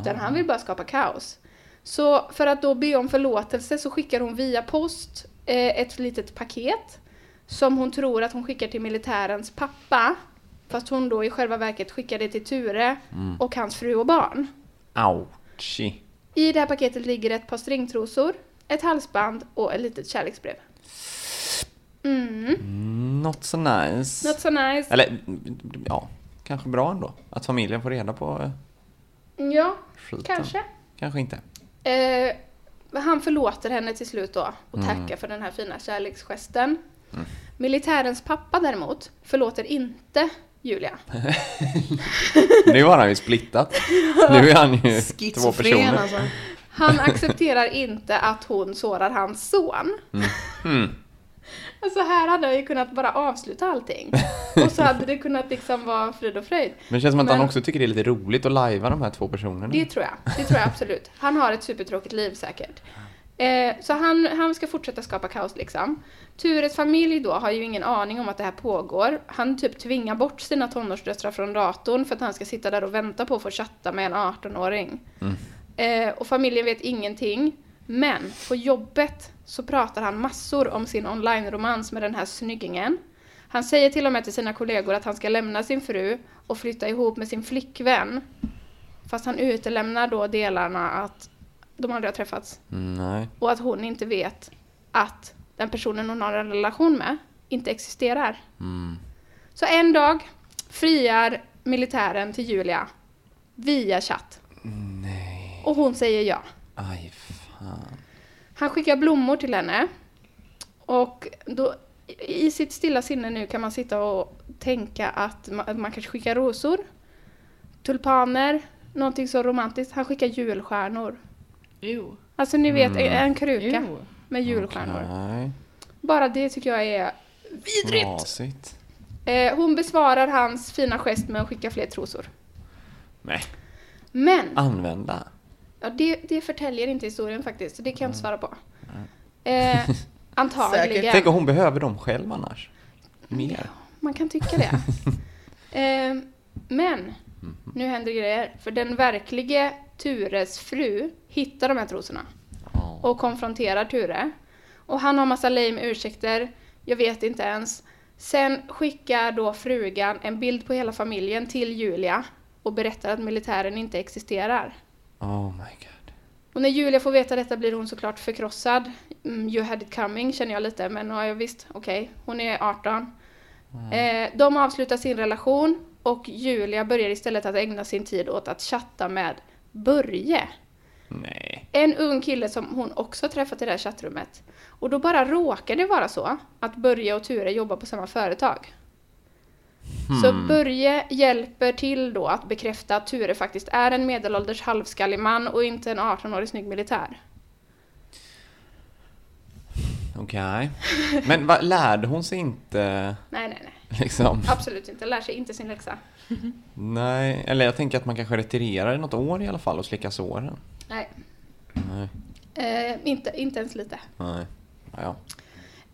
Speaker 1: Utan han vill bara skapa kaos. Så för att då be om förlåtelse så skickar hon via post eh, ett litet paket som hon tror att hon skickar till militärens pappa. Fast hon då i själva verket skickar det till Ture och hans fru och barn.
Speaker 4: Ouchie.
Speaker 1: I det här paketet ligger ett par stringtrosor, ett halsband och ett litet kärleksbrev. Mm,
Speaker 4: Not so nice.
Speaker 1: not so nice.
Speaker 4: Eller, ja, kanske bra ändå. Att familjen får reda på eh,
Speaker 1: Ja,
Speaker 4: skiten.
Speaker 1: kanske.
Speaker 4: Kanske inte.
Speaker 1: Eh, han förlåter henne till slut då och tackar för den här fina kärleksgesten. Militärens pappa däremot förlåter inte Julia.
Speaker 4: Nu har han ju splittat. Nu är han
Speaker 1: *laughs*
Speaker 4: ju två
Speaker 2: Schizofren
Speaker 4: personer.
Speaker 2: alltså.
Speaker 1: Han accepterar inte att hon sårar hans son. Alltså här hade jag ju kunnat bara avsluta allting. Och så hade det kunnat liksom vara frid och fröjd.
Speaker 4: Men det känns som att han
Speaker 1: Men-
Speaker 4: också tycker det är lite roligt att lajva de här två personerna.
Speaker 1: Det tror jag. Det tror jag absolut. Han har ett supertråkigt liv säkert. Eh, så han, han ska fortsätta skapa kaos liksom. Tures familj då har ju ingen aning om att det här pågår. Han typ tvingar bort sina tonårsdöttrar från datorn för att han ska sitta där och vänta på att få chatta med en 18-åring. Eh, och familjen vet ingenting. Men på jobbet så pratar han massor om sin online-romans med den här snyggingen. Han säger till och med till sina kollegor att han ska lämna sin fru och flytta ihop med sin flickvän. Fast han utelämnar då delarna att de aldrig har träffats
Speaker 4: Nej.
Speaker 1: och att hon inte vet att den personen hon har en relation med inte existerar. Så en dag friar militären till Julia via chatt. Och hon säger ja.
Speaker 4: Aj, fan.
Speaker 1: Han skickar blommor till henne. Och då, i sitt stilla sinne nu kan man sitta och tänka att man, man kanske skickar rosor, tulpaner, någonting så romantiskt. Han skickar julstjärnor.
Speaker 2: Jo.
Speaker 1: Alltså ni vet,
Speaker 4: Mm.
Speaker 1: en, en kruka
Speaker 2: Jo.
Speaker 1: med julstjärnor.
Speaker 4: Nej.
Speaker 1: Bara det tycker jag är...
Speaker 4: Knasigt.
Speaker 1: Eh, hon besvarar hans fina gest med att skicka fler trosor.
Speaker 4: Nej.
Speaker 1: Men
Speaker 4: Ah. Använda.
Speaker 1: Ja, det, det förtäljer inte historien faktiskt, så det kan jag inte svara på.
Speaker 4: *laughs*
Speaker 1: Eh, antagligen.
Speaker 4: Mm. Tänk om hon behöver dem själv annars. Mer.
Speaker 1: Man kan tycka det. eh, men, nu händer grejer. För den verklige Tures fru hittar de här trosorna. Och konfronterar Ture. Och han har massa lame ursäkter. Jag vet inte ens. Sen skickar då frugan en bild på hela familjen till Julia. Och berättar att militären inte existerar.
Speaker 4: Oh my god.
Speaker 1: Och när Julia får veta detta blir hon såklart förkrossad. Mm, you had it coming känner jag lite, men ja, ja, visst, okej. Hon är 18. Eh, de avslutar sin relation och Julia börjar istället att ägna sin tid åt att chatta med Börje.
Speaker 4: Nej.
Speaker 1: En ung kille som hon också träffat i det här chattrummet. Och då bara råkar det vara så att Börje och Ture jobbar på samma företag. Så Börje hjälper till då att bekräfta att Ture faktiskt är en medelålders halvskallig man och inte en 18-årig snygg militär.
Speaker 4: Okej. Men vad, lärde hon sig inte
Speaker 1: Nej, nej, nej.
Speaker 4: liksom?
Speaker 1: Absolut inte. Lär sig inte sin läxa.
Speaker 4: Nej. Eller jag tänker att man kanske retirerar i något år i alla fall och slickar såren.
Speaker 1: Nej.
Speaker 4: Nej,
Speaker 1: Eh, inte, inte ens lite.
Speaker 4: nej. Ja, ja.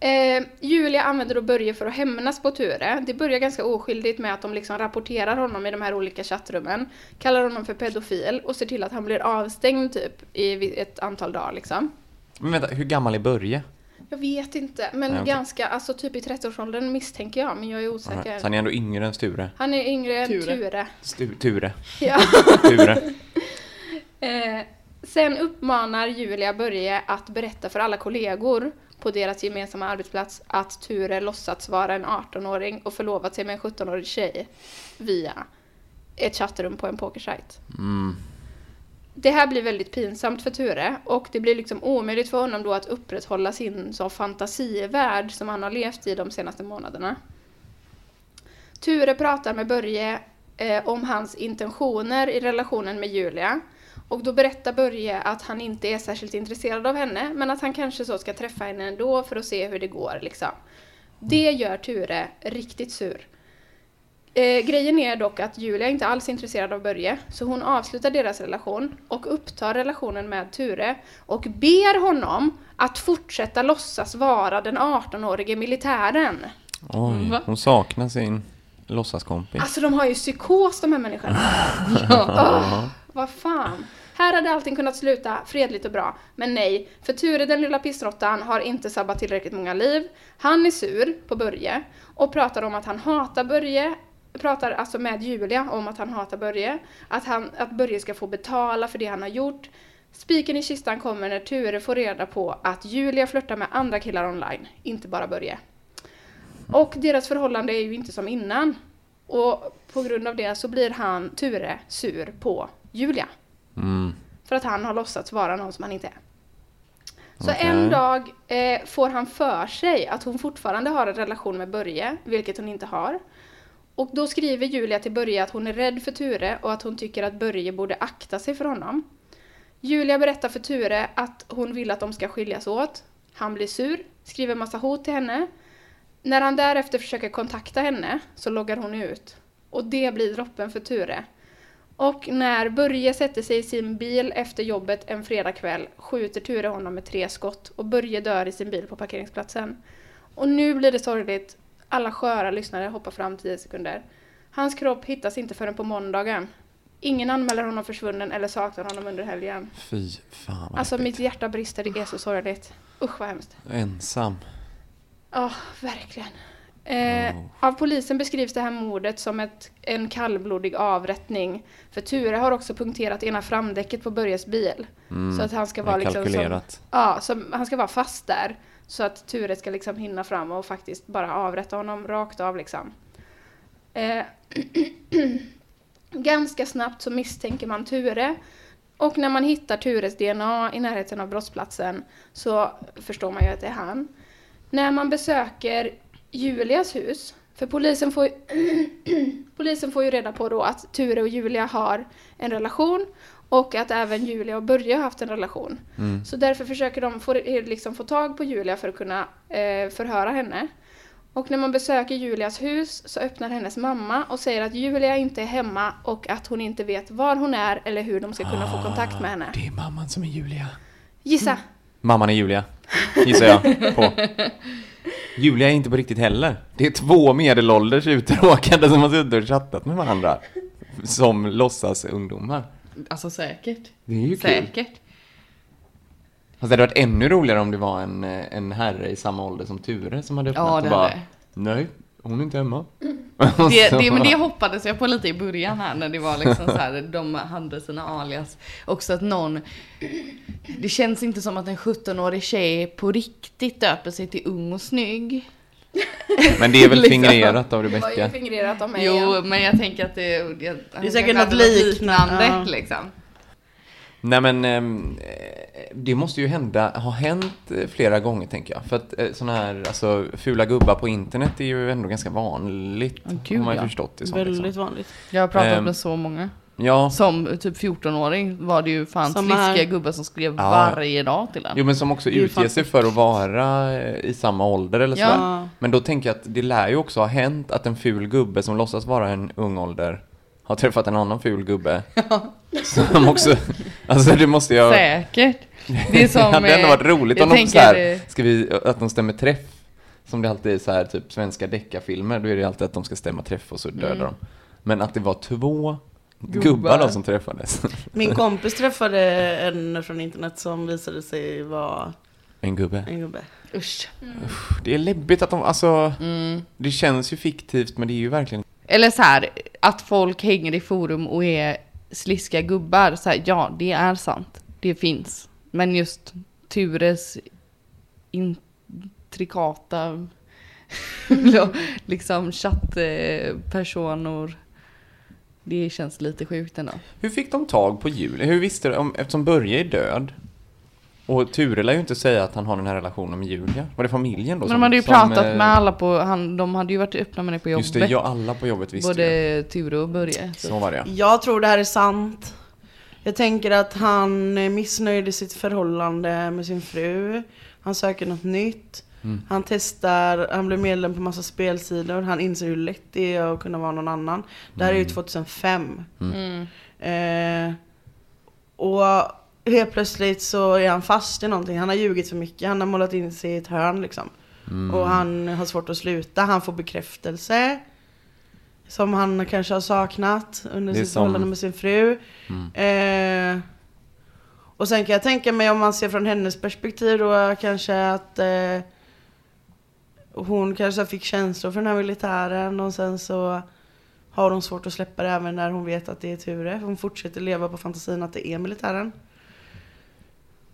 Speaker 1: Eh, Julia använder då Börje för att hämnas på Ture. Det börjar ganska oskyldigt med att de liksom rapporterar honom i de här olika chattrummen, kallar honom för pedofil och ser till att han blir avstängd typ i vi- ett antal dagar liksom.
Speaker 4: Men vänta, hur gammal är Börje?
Speaker 1: Jag vet inte, men
Speaker 4: Nej, okej.
Speaker 1: ganska, alltså typ i 30-årsåldern misstänker jag, men jag är
Speaker 4: Nej,
Speaker 1: osäker.
Speaker 4: Så han är ändå yngre än Sture.
Speaker 1: Han är yngre än
Speaker 2: Ture.
Speaker 1: Ture.
Speaker 4: Stu, Ture.
Speaker 1: Ja.
Speaker 4: Ture.
Speaker 1: Eh, sen uppmanar Julia Börje att berätta för alla kollegor på deras gemensamma arbetsplats att Ture låtsats vara en 18-åring och förlovat sig med en 17-årig tjej via ett chattrum på en pokersajt. Det här blir väldigt pinsamt för Ture och det blir liksom omöjligt för honom då att upprätthålla sin så fantasivärld som han har levt i de senaste månaderna. Ture pratar med Börje eh, om hans intentioner i relationen med Julia. Och då berättar Börje att han inte är särskilt intresserad av henne, men att han kanske så ska träffa henne ändå för att se hur det går liksom. Det gör Ture riktigt sur. Eh, grejen är dock att Julia inte alls är intresserad av Börje, så hon avslutar deras relation och upptar relationen med Ture och ber honom att fortsätta låtsas vara den 18-årige militären.
Speaker 4: Oj, hon saknar sin låtsaskompis.
Speaker 1: Alltså de har ju psykos de här människorna. Åh, vad fan. Här hade allting kunnat sluta fredligt och bra. Men nej, för Ture den lilla pissrottan har inte sabbat tillräckligt många liv. Han är sur på Börje och pratar om att han hatar Börje. Pratar alltså med Julia om att han hatar Börje. Att, han, att Börje ska få betala för det han har gjort. Spiken i kistan kommer när Ture får reda på att Julia flörtar med andra killar online, inte bara Börje. Och deras förhållande är ju inte som innan. Och på grund av det så blir han, Ture, sur på Julia.
Speaker 4: Mm.
Speaker 1: För att han har låtsats vara någon som han inte är. Så
Speaker 4: Okej.
Speaker 1: en dag eh, får han för sig att hon fortfarande har en relation med Börje, vilket hon inte har. Och då skriver Julia till Börje att hon är rädd för Ture och att hon tycker att Börje borde akta sig för honom. Julia berättar för Ture att hon vill att de ska skiljas åt. Han blir sur, skriver massa hot till henne. När han därefter försöker kontakta henne så loggar hon ut. Och det blir droppen för Ture. Och när Börje sätter sig i sin bil efter jobbet en fredagkväll skjuter Ture honom med tre skott och Börje dör i sin bil på parkeringsplatsen. Och nu blir det sorgligt. Alla sköra lyssnare hoppar fram 10 sekunder. Hans kropp hittas inte förrän på måndagen. Ingen anmäler honom försvunnen eller saknar honom under helgen.
Speaker 4: Fy fan vad
Speaker 1: Alltså
Speaker 4: alltså,
Speaker 1: mitt hjärta brister, det är så sorgligt. Usch vad hemskt.
Speaker 4: Ensam.
Speaker 1: Ja, verkligen. Eh, Av polisen beskrivs det här mordet som ett, en kallblodig avrättning. För Ture har också punkterat ena framdäcket på Börjes bil. så att han ska
Speaker 4: Mm,
Speaker 1: vara
Speaker 4: det är
Speaker 1: liksom som,
Speaker 4: kalkylerat.
Speaker 1: ja, som, Han ska vara fast där. Så att Ture ska liksom hinna fram och faktiskt bara avrätta honom rakt av liksom. Eh, *clears throat* ganska snabbt så misstänker man Ture. Och när man hittar Tures DNA i närheten av brottsplatsen så förstår man ju att det är han. När man besöker Julias hus, för polisen får, *clears throat* polisen får ju reda på då att Ture och Julia har en relation och att även Julia och Börje har haft en relation. Så därför försöker de få, liksom få tag på Julia för att kunna eh, förhöra henne. Och när man besöker Julias hus så öppnar hennes mamma och säger att Julia inte är hemma och att hon inte vet var hon är eller hur de ska kunna få kontakt med henne.
Speaker 4: Det är mamman som är Julia.
Speaker 1: Gissa!
Speaker 4: Mamman är Julia, gissar jag på. Julia är inte på riktigt heller. Det är två medelålders utråkade som har suttit och chattat med varandra. Som låtsas ungdomar.
Speaker 2: Alltså säkert.
Speaker 4: Det är ju kul.
Speaker 2: Säkert.
Speaker 4: Fast det hade varit ännu roligare om det var en, eh, en herre i samma ålder som Ture som hade öppnat
Speaker 2: Ja, det
Speaker 4: och bara
Speaker 2: hade.
Speaker 4: Nej, hon är inte hemma. *laughs*
Speaker 2: Det, det, men det hoppades jag på lite i början här när det var liksom så här, de hade sina alias. Också att någon, det känns inte som att en 17-årig tjej på riktigt döper sig till ung och snygg.
Speaker 4: Men det är väl
Speaker 2: Liksom.
Speaker 4: fingrerat av
Speaker 1: Det var ju
Speaker 4: Rebecka.
Speaker 1: fingrerat av mig.
Speaker 2: Jo,
Speaker 1: igen.
Speaker 2: men jag tänker att det, det,
Speaker 3: är säkert
Speaker 2: att det
Speaker 3: något
Speaker 2: var
Speaker 3: liknande. Ja.
Speaker 2: liksom.
Speaker 4: Nej men ehm, eh, det måste ju hända, ha hänt eh, flera gånger tänker jag. För att eh, sådana här alltså, fula gubbar på internet är ju ändå ganska vanligt.
Speaker 2: Ja, gud,
Speaker 4: har man ju
Speaker 2: ja.
Speaker 4: förstått det som.
Speaker 3: Väldigt
Speaker 4: Liksom.
Speaker 3: vanligt.
Speaker 2: Jag har pratat
Speaker 4: Ehm.
Speaker 2: med så många.
Speaker 4: Ja,
Speaker 2: Som typ 14-åring var det ju fan
Speaker 3: Som
Speaker 2: sliskiga
Speaker 3: är-
Speaker 2: gubbar som skrev
Speaker 4: Ja.
Speaker 2: varje dag till en.
Speaker 4: jo men som också
Speaker 3: Det är ju
Speaker 4: utger sig för att vara eh, i samma ålder eller
Speaker 2: Ja.
Speaker 4: sådär. Men då tänker jag att det lär ju också ha hänt att en ful gubbe som låtsas vara en ung ålder
Speaker 2: *laughs*
Speaker 4: har träffat en annan ful gubbe. Som också, alltså det måste jag...
Speaker 2: Säkert.
Speaker 4: *laughs*
Speaker 2: Det är som,
Speaker 4: det hade ändå
Speaker 2: eh,
Speaker 4: varit roligt
Speaker 2: jag
Speaker 4: om de
Speaker 2: tänker-
Speaker 4: så här, ska vi, att de stämmer träff. Som det alltid är så här, typ svenska deckarfilmer, då är det alltid att de ska stämma träff och så
Speaker 2: Mm.
Speaker 4: dödar de. Men att det var två gubbar, då som träffades. *laughs*
Speaker 3: Min kompis träffade en från internet som visade sig vara
Speaker 4: En gubbe.
Speaker 3: en gubbe.
Speaker 2: Usch.
Speaker 4: Det är läbbigt att de, alltså,
Speaker 2: Mm.
Speaker 4: det känns ju fiktivt men det är ju verkligen
Speaker 2: Eller så här, att folk hänger i forum och är sliska gubbar. Så här, ja, det är sant. Det finns. Men just Tures intrikata *laughs* liksom chattpersonor. Det känns lite sjukt ändå.
Speaker 4: Hur fick de tag på Julia? Hur visste de, om, eftersom Börje är död och Ture lär ju inte säga att han har den här relationen med Julia. Var det familjen då
Speaker 2: Men
Speaker 4: som,
Speaker 2: de hade ju
Speaker 4: som,
Speaker 2: pratat
Speaker 4: eh,
Speaker 2: med alla på, han, de hade ju varit öppna med det på jobbet.
Speaker 4: Just det, ja, alla på jobbet visste ju.
Speaker 2: Både Ture och Börje.
Speaker 4: Så var det
Speaker 3: Jag tror det här är sant. Jag tänker att han är missnöjd i sitt förhållande med sin fru. Han söker något nytt. Han testar, han blir medlem på massa spelsidor. Han inser hur lätt det är att kunna vara någon annan. Det här är ju 2005. Eh, och helt plötsligt så är han fast i någonting. Han har ljugit för mycket. Han har målat in sig i ett hörn liksom.
Speaker 4: Mm.
Speaker 3: Och han har svårt att sluta. Han får bekräftelse. Som han kanske har saknat under
Speaker 4: Det är
Speaker 3: sitt
Speaker 4: som- Mm.
Speaker 3: förhållande med sin fru. Eh, och sen kan jag tänka mig om man ser från hennes perspektiv då kanske att eh, hon kanske fick känslor för den här militären och sen så har hon svårt att släppa det även när hon vet att det är Ture. Hon fortsätter leva på fantasin att det är militären.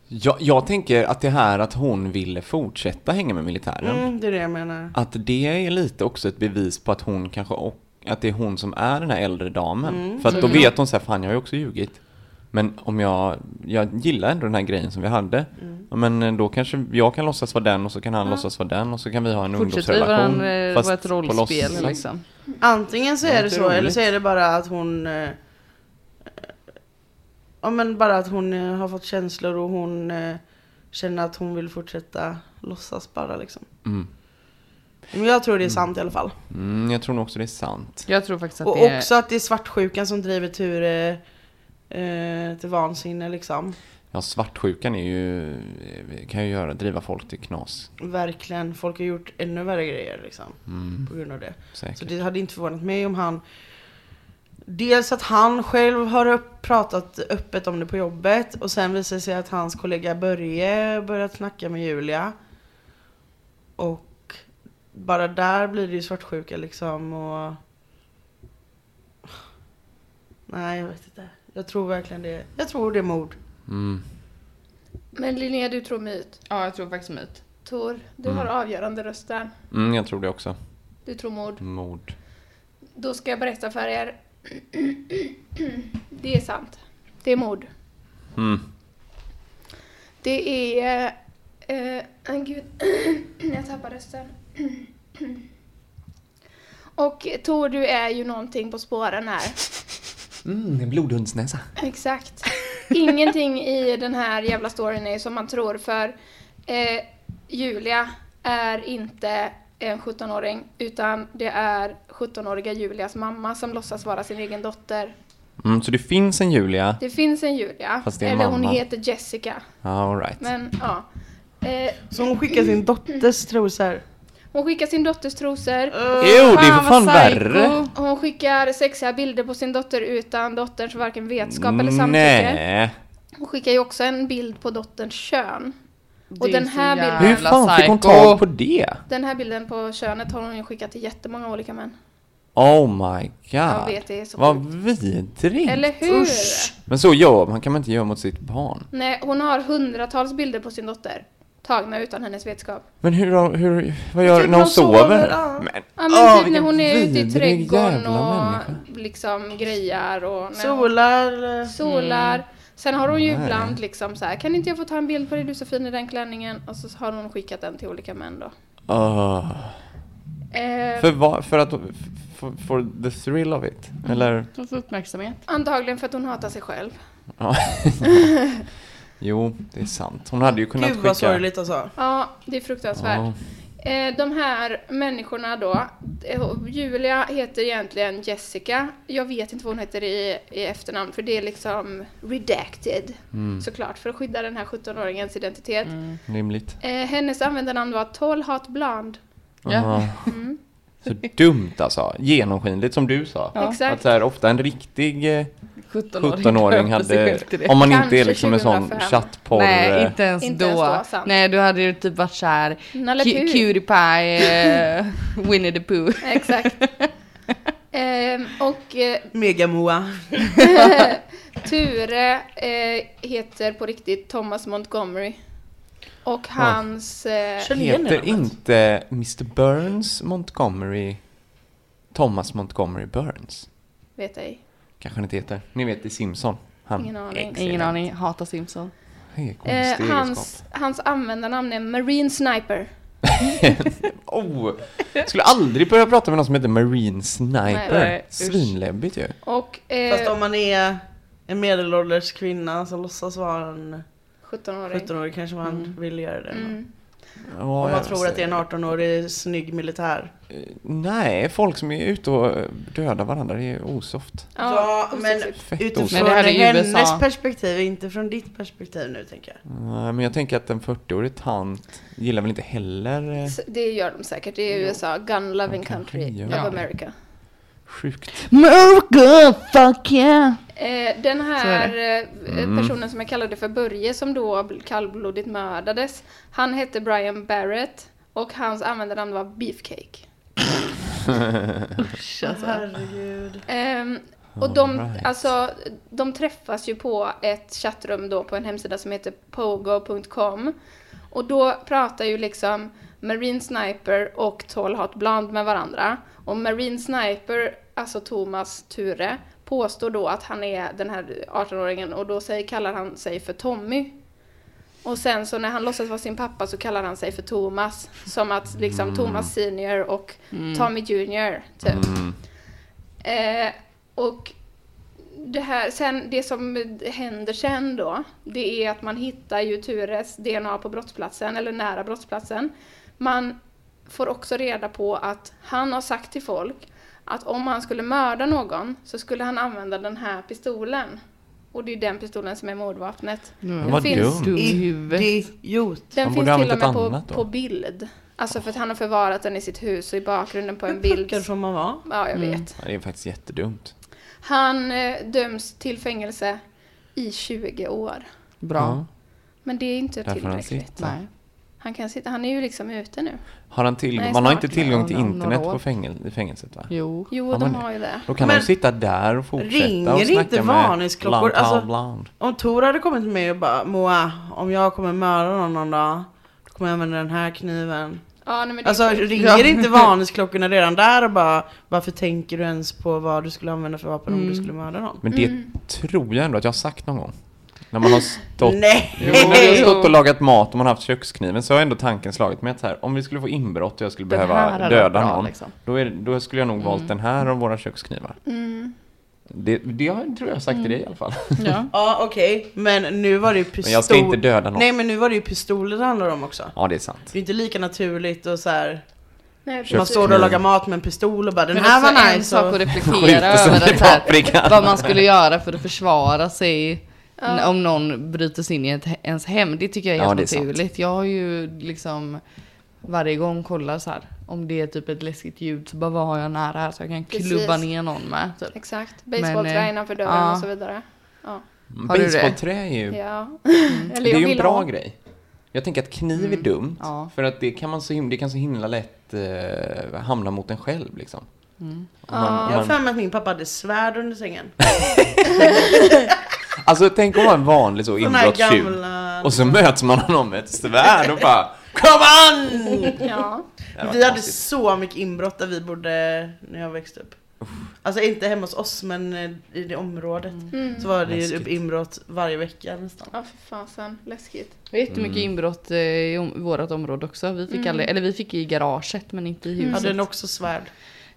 Speaker 4: jag. Jag tänker att det här att hon ville fortsätta hänga med militären.
Speaker 3: Mm, det är det jag menar.
Speaker 4: Att det är lite också ett bevis på att hon kanske och, att det är hon som är den här äldre damen.
Speaker 2: Mm,
Speaker 4: För att då vet hon så här, fan jag har ju också ljugit. Men om jag, jag gillar ändå den här grejen som vi hade.
Speaker 2: Mm.
Speaker 4: Ja, Men eh, då kanske jag kan låtsas vara den och så kan han låtsas vara den och så kan vi ha en
Speaker 2: Fortsätter vi
Speaker 4: ungdomsrelation.
Speaker 2: varandra
Speaker 4: fast
Speaker 2: vara ett
Speaker 4: på
Speaker 2: rollspel
Speaker 4: låtsas.
Speaker 2: liksom.
Speaker 3: Antingen så
Speaker 4: Det är
Speaker 3: är det
Speaker 4: inte
Speaker 3: så eller
Speaker 4: roligt.
Speaker 3: så är det bara att hon eh, eh, Ja men bara att hon eh, har fått känslor och hon eh, känner att hon vill fortsätta låtsas bara liksom.
Speaker 4: Mm.
Speaker 3: Men jag tror det är sant i alla fall.
Speaker 4: Mm, jag tror nog också det är sant.
Speaker 2: Jag tror faktiskt att
Speaker 3: och
Speaker 2: det är...
Speaker 3: också att det är svartsjukan som driver Ture eh, till vansinne liksom.
Speaker 4: Ja, svartsjukan är ju, eh, kan ju göra, driva folk till knas.
Speaker 3: Verkligen, folk har gjort ännu värre grejer liksom.
Speaker 4: Mm.
Speaker 3: På grund av det. Så
Speaker 4: Säkert.
Speaker 3: det hade inte förvånat mig om han Dels att han själv har upp, pratat öppet om det på jobbet och sen visar det sig att hans kollega Börje börjat snacka med Julia. Och bara där blir det ju svartsjuka liksom och... Nej jag vet inte. Jag tror verkligen det. Jag tror det är mord.
Speaker 1: Men Linnea, du tror myt.
Speaker 2: Ja, jag tror faktiskt myt.
Speaker 1: Tor, du har avgörande röst där.
Speaker 4: Mm, jag tror det också.
Speaker 1: Du tror mord.
Speaker 4: Mord.
Speaker 1: Då ska jag berätta för er. *clears throat* Det är sant. Det är mord.
Speaker 4: Mm.
Speaker 1: Det är... Eh, eh, gud, *clears throat* jag tappar rösten. *clears throat* Och Tor, du är ju någonting på spåren här.
Speaker 4: Mm, en blodhundsnäsa.
Speaker 1: Exakt. Ingenting i den här jävla storyn är som man tror för eh, Julia är inte en 17-åring utan det är 17-åriga Julias mamma som låtsas vara sin egen dotter.
Speaker 4: Mm, så det finns en Julia.
Speaker 1: Det finns en Julia,
Speaker 4: Fast det är
Speaker 1: eller hon
Speaker 4: mamma.
Speaker 1: heter Jessica.
Speaker 4: All right.
Speaker 1: Men ja. Eh,
Speaker 3: Så hon skickar sin dotters trosor.
Speaker 1: hon skickar sin dotters trosor.
Speaker 4: Jo, det är för
Speaker 2: Fan,
Speaker 4: fan
Speaker 2: vad
Speaker 4: värre.
Speaker 2: psycho.
Speaker 1: Hon skickar sexiga bilder på sin dotter utan dotterns varken vetskap eller samtycke.
Speaker 4: Nej.
Speaker 1: Hon skickar ju också en bild på dotterns kön.
Speaker 2: Det
Speaker 1: Och
Speaker 2: är
Speaker 1: den
Speaker 2: så
Speaker 1: här bilden-
Speaker 4: Hur
Speaker 2: jävla
Speaker 4: fan fick hon
Speaker 2: psycho.
Speaker 4: tag på det?
Speaker 1: Den här bilden på könet har hon ju skickat till jättemånga olika män.
Speaker 4: Oh my god. Jag
Speaker 1: vet, det är så
Speaker 4: Vad vidrigt.
Speaker 1: Eller hur?
Speaker 4: Men så gör man, kan man inte göra mot sitt barn.
Speaker 1: Nej, hon har hundratals bilder på sin dotter. Tagna utan hennes vetskap.
Speaker 4: Men hur, hur vad gör
Speaker 3: typ
Speaker 4: när hon
Speaker 3: hon sover,
Speaker 4: sover?
Speaker 3: ja.
Speaker 4: Men,
Speaker 1: Ja men typ
Speaker 4: åh,
Speaker 1: när
Speaker 4: Ah, vilken
Speaker 1: hon är ute i
Speaker 4: vidrig
Speaker 1: trädgården
Speaker 4: jävla
Speaker 1: och
Speaker 4: människa.
Speaker 1: liksom grejar och när hon
Speaker 3: Solar. eh,
Speaker 1: solar. Sen har hon ju
Speaker 4: Mm.
Speaker 1: ibland liksom så här, kan inte jag få ta en bild på dig, du är så fin i den klänningen. Och så har hon skickat den till olika män då.
Speaker 4: Åh.
Speaker 1: Eh,
Speaker 4: För, vad- för att, for, for the thrill of it?
Speaker 1: Mm. *laughs*
Speaker 4: Eller?
Speaker 2: Hon får uppmärksamhet.
Speaker 1: antagligen för att hon hatar sig själv.
Speaker 4: Ja. *laughs* jo, det är sant. Hon hade ju kunnat
Speaker 3: Gud
Speaker 4: skicka...
Speaker 3: vad sorgligt alltså.
Speaker 1: Ja, det är fruktansvärt.
Speaker 4: Ja.
Speaker 1: Eh, de här människorna då, eh, Julia heter egentligen Jessica. Jag vet inte vad hon heter i, i efternamn för det är liksom redacted såklart för att skydda den här 17-åringens identitet.
Speaker 4: Rimligt.
Speaker 1: Eh, hennes användarnamn var Tall Hot Blonde.
Speaker 4: Ja.
Speaker 2: Mm.
Speaker 4: Så dumt alltså. Genomskinligt som du sa. Att
Speaker 1: Exakt.
Speaker 4: så här, ofta en riktig eh,
Speaker 2: 17-åring
Speaker 4: 17-åring
Speaker 2: döpte sig
Speaker 4: hade...
Speaker 2: själv till det.
Speaker 4: Om man inte
Speaker 1: Kanske
Speaker 4: är liksom en sån
Speaker 1: 2005.
Speaker 4: chattporr...
Speaker 2: Nej,
Speaker 4: eh,
Speaker 2: inte ens
Speaker 1: Inte
Speaker 2: då.
Speaker 1: ens då, sant.
Speaker 2: Nej, du hade ju typ varit såhär
Speaker 1: Nalle Puh.
Speaker 2: Cutie Pie, eh, *laughs* Winnie the Pooh.
Speaker 1: Exakt. Ehm, och eh,
Speaker 3: Megamoa.
Speaker 1: Ture eh, heter på riktigt Thomas Montgomery. Och hans... Eh,
Speaker 3: Känner igen det
Speaker 4: Heter
Speaker 3: namnet.
Speaker 4: inte Mr Burns Montgomery Thomas Montgomery Burns?
Speaker 1: vet ej.
Speaker 4: Kanske han inte heter. Ni vet i Simpson. Han
Speaker 1: Ingen aning.
Speaker 4: excellent.
Speaker 2: Ingen aning, hatar Simpson.
Speaker 4: Det är
Speaker 1: Eh,
Speaker 4: konstig
Speaker 1: hans,
Speaker 4: egenskap.
Speaker 1: hans användarnamn är Marine Sniper.
Speaker 4: Oh, jag skulle aldrig börja prata med någon som heter Marine Sniper.
Speaker 2: Nej, usch.
Speaker 4: Svinläbbigt ju.
Speaker 1: Och
Speaker 3: Fast
Speaker 1: eh,
Speaker 3: om man är en medelålders kvinna som låtsas vara en
Speaker 1: 17-åring.
Speaker 3: 17-årig kanske man vill göra det.
Speaker 1: Mm.
Speaker 4: Ja,
Speaker 3: Om man
Speaker 4: jag
Speaker 3: tror att det är
Speaker 4: säger-
Speaker 3: en 18-årig snygg militär.
Speaker 4: Eh, Nej, folk som är ute och eh, dödar varandra, det är osoft.
Speaker 3: Ja, men
Speaker 1: osexigt.
Speaker 4: Fett osoft.
Speaker 3: utifrån
Speaker 2: Men det här är ju
Speaker 3: hennes
Speaker 2: USA.
Speaker 3: perspektiv, inte från ditt perspektiv nu tänker jag.
Speaker 4: Nej, Eh, Men jag tänker att en 40-årig tant gillar väl inte heller eh,
Speaker 1: S- Det gör de säkert. Det är USA. Gun loving
Speaker 4: De kanske
Speaker 1: country
Speaker 4: gör
Speaker 1: of
Speaker 4: det.
Speaker 1: America.
Speaker 4: sjukt.
Speaker 2: America, fuck yeah!
Speaker 1: Eh, den
Speaker 2: Så är
Speaker 1: här eh,
Speaker 4: Mm.
Speaker 1: personen som jag kallade för Börje som då bl- kallblodigt mördades. Han hette Brian Barrett och hans användarnamn var Beefcake.
Speaker 2: Alltså,
Speaker 3: Herregud.
Speaker 1: Ehm, och de,
Speaker 4: Alright.
Speaker 1: alltså, de träffas ju på ett chattrum då på en hemsida som heter pogo.com. Och då pratar ju liksom Marine Sniper och Tall Hot Blonde med varandra. Och Marine Sniper, alltså Thomas Ture, påstår då att han är den här 18-åringen och då säger, kallar han sig för Tommy. Och sen så när han låtsas vara sin pappa så kallar han sig för Thomas. Som att liksom Thomas senior och Tommy junior, typ. Eh, och det, här, sen, det som händer sen då, det är att man hittar ju Tures DNA på brottsplatsen, eller nära brottsplatsen. Man får också reda på att han har sagt till folk att om han skulle mörda någon så skulle han använda den här pistolen. Och det är den pistolen som är mordvapnet. Den
Speaker 4: Vad
Speaker 1: finns,
Speaker 4: dum.
Speaker 2: Dum i huvudet.
Speaker 3: Idiot.
Speaker 1: den
Speaker 4: Han
Speaker 1: finns
Speaker 4: borde
Speaker 1: till och
Speaker 4: använt
Speaker 1: med
Speaker 4: ett
Speaker 1: på,
Speaker 4: typ annat då.
Speaker 1: på bild. Alltså för att han har förvarat den i sitt hus och i bakgrunden på en
Speaker 3: En
Speaker 1: bild.
Speaker 3: Puckad får man vara.
Speaker 1: Ja, jag vet.
Speaker 4: Ja, Det är faktiskt jättedumt.
Speaker 1: Han eh, döms till fängelse i 20 år.
Speaker 2: Bra.
Speaker 1: Men det är inte
Speaker 4: Därför han
Speaker 1: tillräckligt.
Speaker 4: sitter.
Speaker 2: Nej.
Speaker 1: Han, kan sitta, han är ju liksom ute nu.
Speaker 4: Har han till...
Speaker 1: Nej,
Speaker 4: man har
Speaker 1: snart.
Speaker 4: inte tillgång till
Speaker 2: Ja, några
Speaker 4: internet
Speaker 2: år.
Speaker 4: på fängel- i fängelset va?
Speaker 2: Jo.
Speaker 1: Jo,
Speaker 4: Har man
Speaker 1: de
Speaker 4: det?
Speaker 1: har ju det.
Speaker 4: Då kan
Speaker 3: Men
Speaker 4: de sitta där och fortsätta
Speaker 3: ringer
Speaker 4: och snacka
Speaker 3: inte
Speaker 4: med
Speaker 3: varningsklockor?
Speaker 4: Bland,
Speaker 3: Alltså-
Speaker 4: bland, bland.
Speaker 3: Om Tor hade kommit till mig och bara Moa, om jag kommer mörda någon någon dag, då kommer jag använda den här kniven.
Speaker 1: Ja, nej, men det
Speaker 3: Alltså
Speaker 1: är sjukt.
Speaker 3: ringer inte varningsklockorna redan där och bara varför tänker du ens på vad du skulle använda för vapen
Speaker 1: Mm.
Speaker 3: om du skulle mörda någon?
Speaker 4: Men det tror jag ändå att jag har sagt någon gång. När man har stått,
Speaker 3: Nej!
Speaker 4: Jo, när jag har stått och lagat mat och man har haft kökskniven så har ändå tanken slagit mig att så här, om vi skulle få inbrott och jag skulle
Speaker 2: Den här
Speaker 4: behöva
Speaker 2: hade
Speaker 4: döda
Speaker 2: varit bra,
Speaker 4: någon,
Speaker 2: liksom. Mm.
Speaker 4: då, är, då skulle jag nog valt den här av våra köksknivar. Det, det har- tror jag har sagt till dig i alla fall.
Speaker 2: Mm. Ja.
Speaker 3: *laughs* Ja okej, men nu var det ju pistol...
Speaker 4: *laughs* Men jag ska inte döda någon.
Speaker 3: Nej men nu var det ju pistoler det handlar om också.
Speaker 4: Ja, det är sant.
Speaker 3: Det är inte lika naturligt och så här.
Speaker 1: Nej,
Speaker 3: man
Speaker 1: precis.
Speaker 3: står där och lagar mat med en pistol och bara den
Speaker 2: Men
Speaker 3: här
Speaker 2: också
Speaker 3: var
Speaker 2: en
Speaker 3: nice.
Speaker 2: sak
Speaker 3: Och...
Speaker 2: att reflektera
Speaker 4: Skjuter som
Speaker 2: över
Speaker 4: i
Speaker 2: att så
Speaker 4: paprika.
Speaker 2: här, vad man skulle göra för att försvara sig om någon bryter sig in i ett, ens hem. Det tycker jag är
Speaker 4: Ja,
Speaker 2: helt
Speaker 4: det är sant.
Speaker 2: naturligt. Jag har ju liksom varje gång kollar så här om det är typ ett läskigt ljud så bara vad har jag nära här så jag kan
Speaker 1: Precis.
Speaker 2: klubba ner någon med. Typ.
Speaker 1: Exakt.
Speaker 2: Men,
Speaker 1: Basebollträ
Speaker 2: eh,
Speaker 1: innanför dörren
Speaker 2: ja.
Speaker 1: och så vidare. Ja.
Speaker 2: Har du det?
Speaker 4: Basebollträ är ju...
Speaker 1: ja. *laughs* Eller
Speaker 4: Mm. Det är ju en
Speaker 1: vill
Speaker 4: bra
Speaker 1: ha-
Speaker 4: grej. Jag tänker att kniv är dumt,
Speaker 2: Mm. ja.
Speaker 4: för att det kan, man så himla, det kan så himla lätt eh, hamna mot en själv liksom.
Speaker 2: Mm.
Speaker 4: Om man- om
Speaker 3: Jag har
Speaker 4: man,
Speaker 3: för mig att min pappa hade svärd under
Speaker 4: *laughs*
Speaker 3: sängen.
Speaker 4: alltså tänk om man är en vanlig så
Speaker 3: Den här
Speaker 4: inbrottstjuv,
Speaker 3: gamla...
Speaker 4: och så möts man honom med ett svärd och bara Come on!
Speaker 1: Ja.
Speaker 4: Det var
Speaker 3: Vi hade
Speaker 4: konstigt.
Speaker 3: så mycket inbrott där vi bodde när jag växte upp. Alltså inte hemma hos oss men eh, i det området.
Speaker 2: Mm.
Speaker 3: Så var det ju
Speaker 4: Läskigt.
Speaker 3: upp inbrott varje vecka nästan.
Speaker 1: ja, för fasen. Läskigt.
Speaker 2: Det var jättemycket
Speaker 4: Mm.
Speaker 2: inbrott eh, i om- vårt område också. Vi fick, aldrig, eller vi fick i garaget men inte i
Speaker 4: Mm.
Speaker 2: huset.
Speaker 3: Hade den också svärd?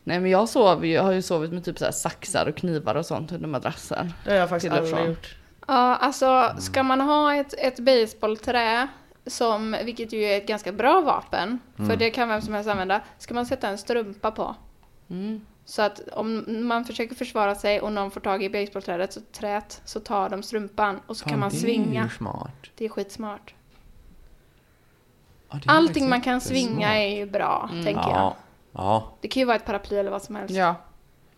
Speaker 2: Nej men jag, sov, ju- jag har ju sovit med typ så här saxar och knivar och sånt under madrassen.
Speaker 3: Det har jag faktiskt
Speaker 2: Till och
Speaker 3: aldrig
Speaker 2: från.
Speaker 3: gjort.
Speaker 1: Ja, alltså ska man ha ett, ett basebollträ som, vilket ju är ett ganska bra vapen, för det kan vem som helst använda, ska man sätta en strumpa på. Så att om man försöker försvara sig och någon får tag i basebollträdet, så trät, så tar de strumpan och så kan man svinga.
Speaker 4: smart.
Speaker 1: Det är skitsmart. Allting man kan svinga är ju bra, tänker jag.
Speaker 4: Ja. Ja.
Speaker 1: Det kan ju vara ett paraply eller vad som helst.
Speaker 2: Ja.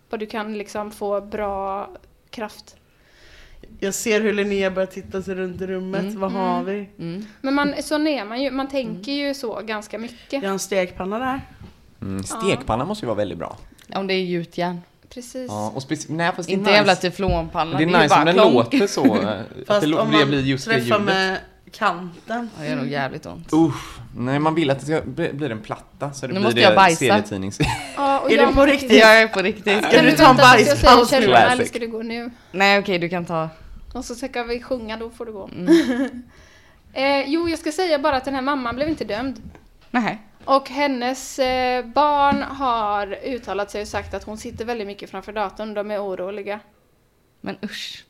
Speaker 1: Och du kan liksom få bra kraft.
Speaker 3: Jag ser hur Linnea börjar titta sig runt i rummet.
Speaker 1: Mm.
Speaker 3: Vad har vi?
Speaker 1: Men man, så är man ju, man tänker ju så ganska mycket.
Speaker 3: Jag har en stekpanna där.
Speaker 4: Mm, stekpanna måste ju vara väldigt bra.
Speaker 2: Om det är gjutjärn.
Speaker 1: Precis.
Speaker 4: Ja, och speci- nej, fast det är
Speaker 2: Inte
Speaker 4: nice.
Speaker 2: jävla teflonpanna.
Speaker 4: Det är
Speaker 2: ju
Speaker 4: nice
Speaker 2: bara
Speaker 4: om den
Speaker 2: klonk.
Speaker 4: låter så. eh, att
Speaker 3: Fast
Speaker 4: det, lo-
Speaker 3: om
Speaker 4: det
Speaker 3: man
Speaker 4: blir just det
Speaker 3: träffar
Speaker 4: ljudet.
Speaker 3: med kanten.
Speaker 2: Ja, Det gör nog jävligt ont.
Speaker 4: Usch. Nej, man vill att det ska bli, blir en platta så det
Speaker 2: Nu
Speaker 4: blir
Speaker 2: måste jag
Speaker 4: det
Speaker 2: bajsa.
Speaker 4: serietidnings... *laughs*
Speaker 1: Ja, och
Speaker 3: Är
Speaker 1: jag-
Speaker 3: det på riktigt?
Speaker 2: Jag är på riktigt.
Speaker 3: Kan du ta en
Speaker 1: vänta tills jag
Speaker 3: bajspaus
Speaker 1: säger
Speaker 3: nu?
Speaker 1: källorna,
Speaker 4: Classic.
Speaker 1: Eller ska du gå nu?
Speaker 2: Nej okej, du kan ta.
Speaker 1: Och så ska vi sjunga, då får du gå. *laughs* eh, jo, jag ska säga bara att den här mamman blev inte dömd.
Speaker 2: Nej.
Speaker 1: Och hennes eh, barn har uttalat sig och sagt att hon sitter väldigt mycket framför datorn. De är oroliga.
Speaker 2: Men usch.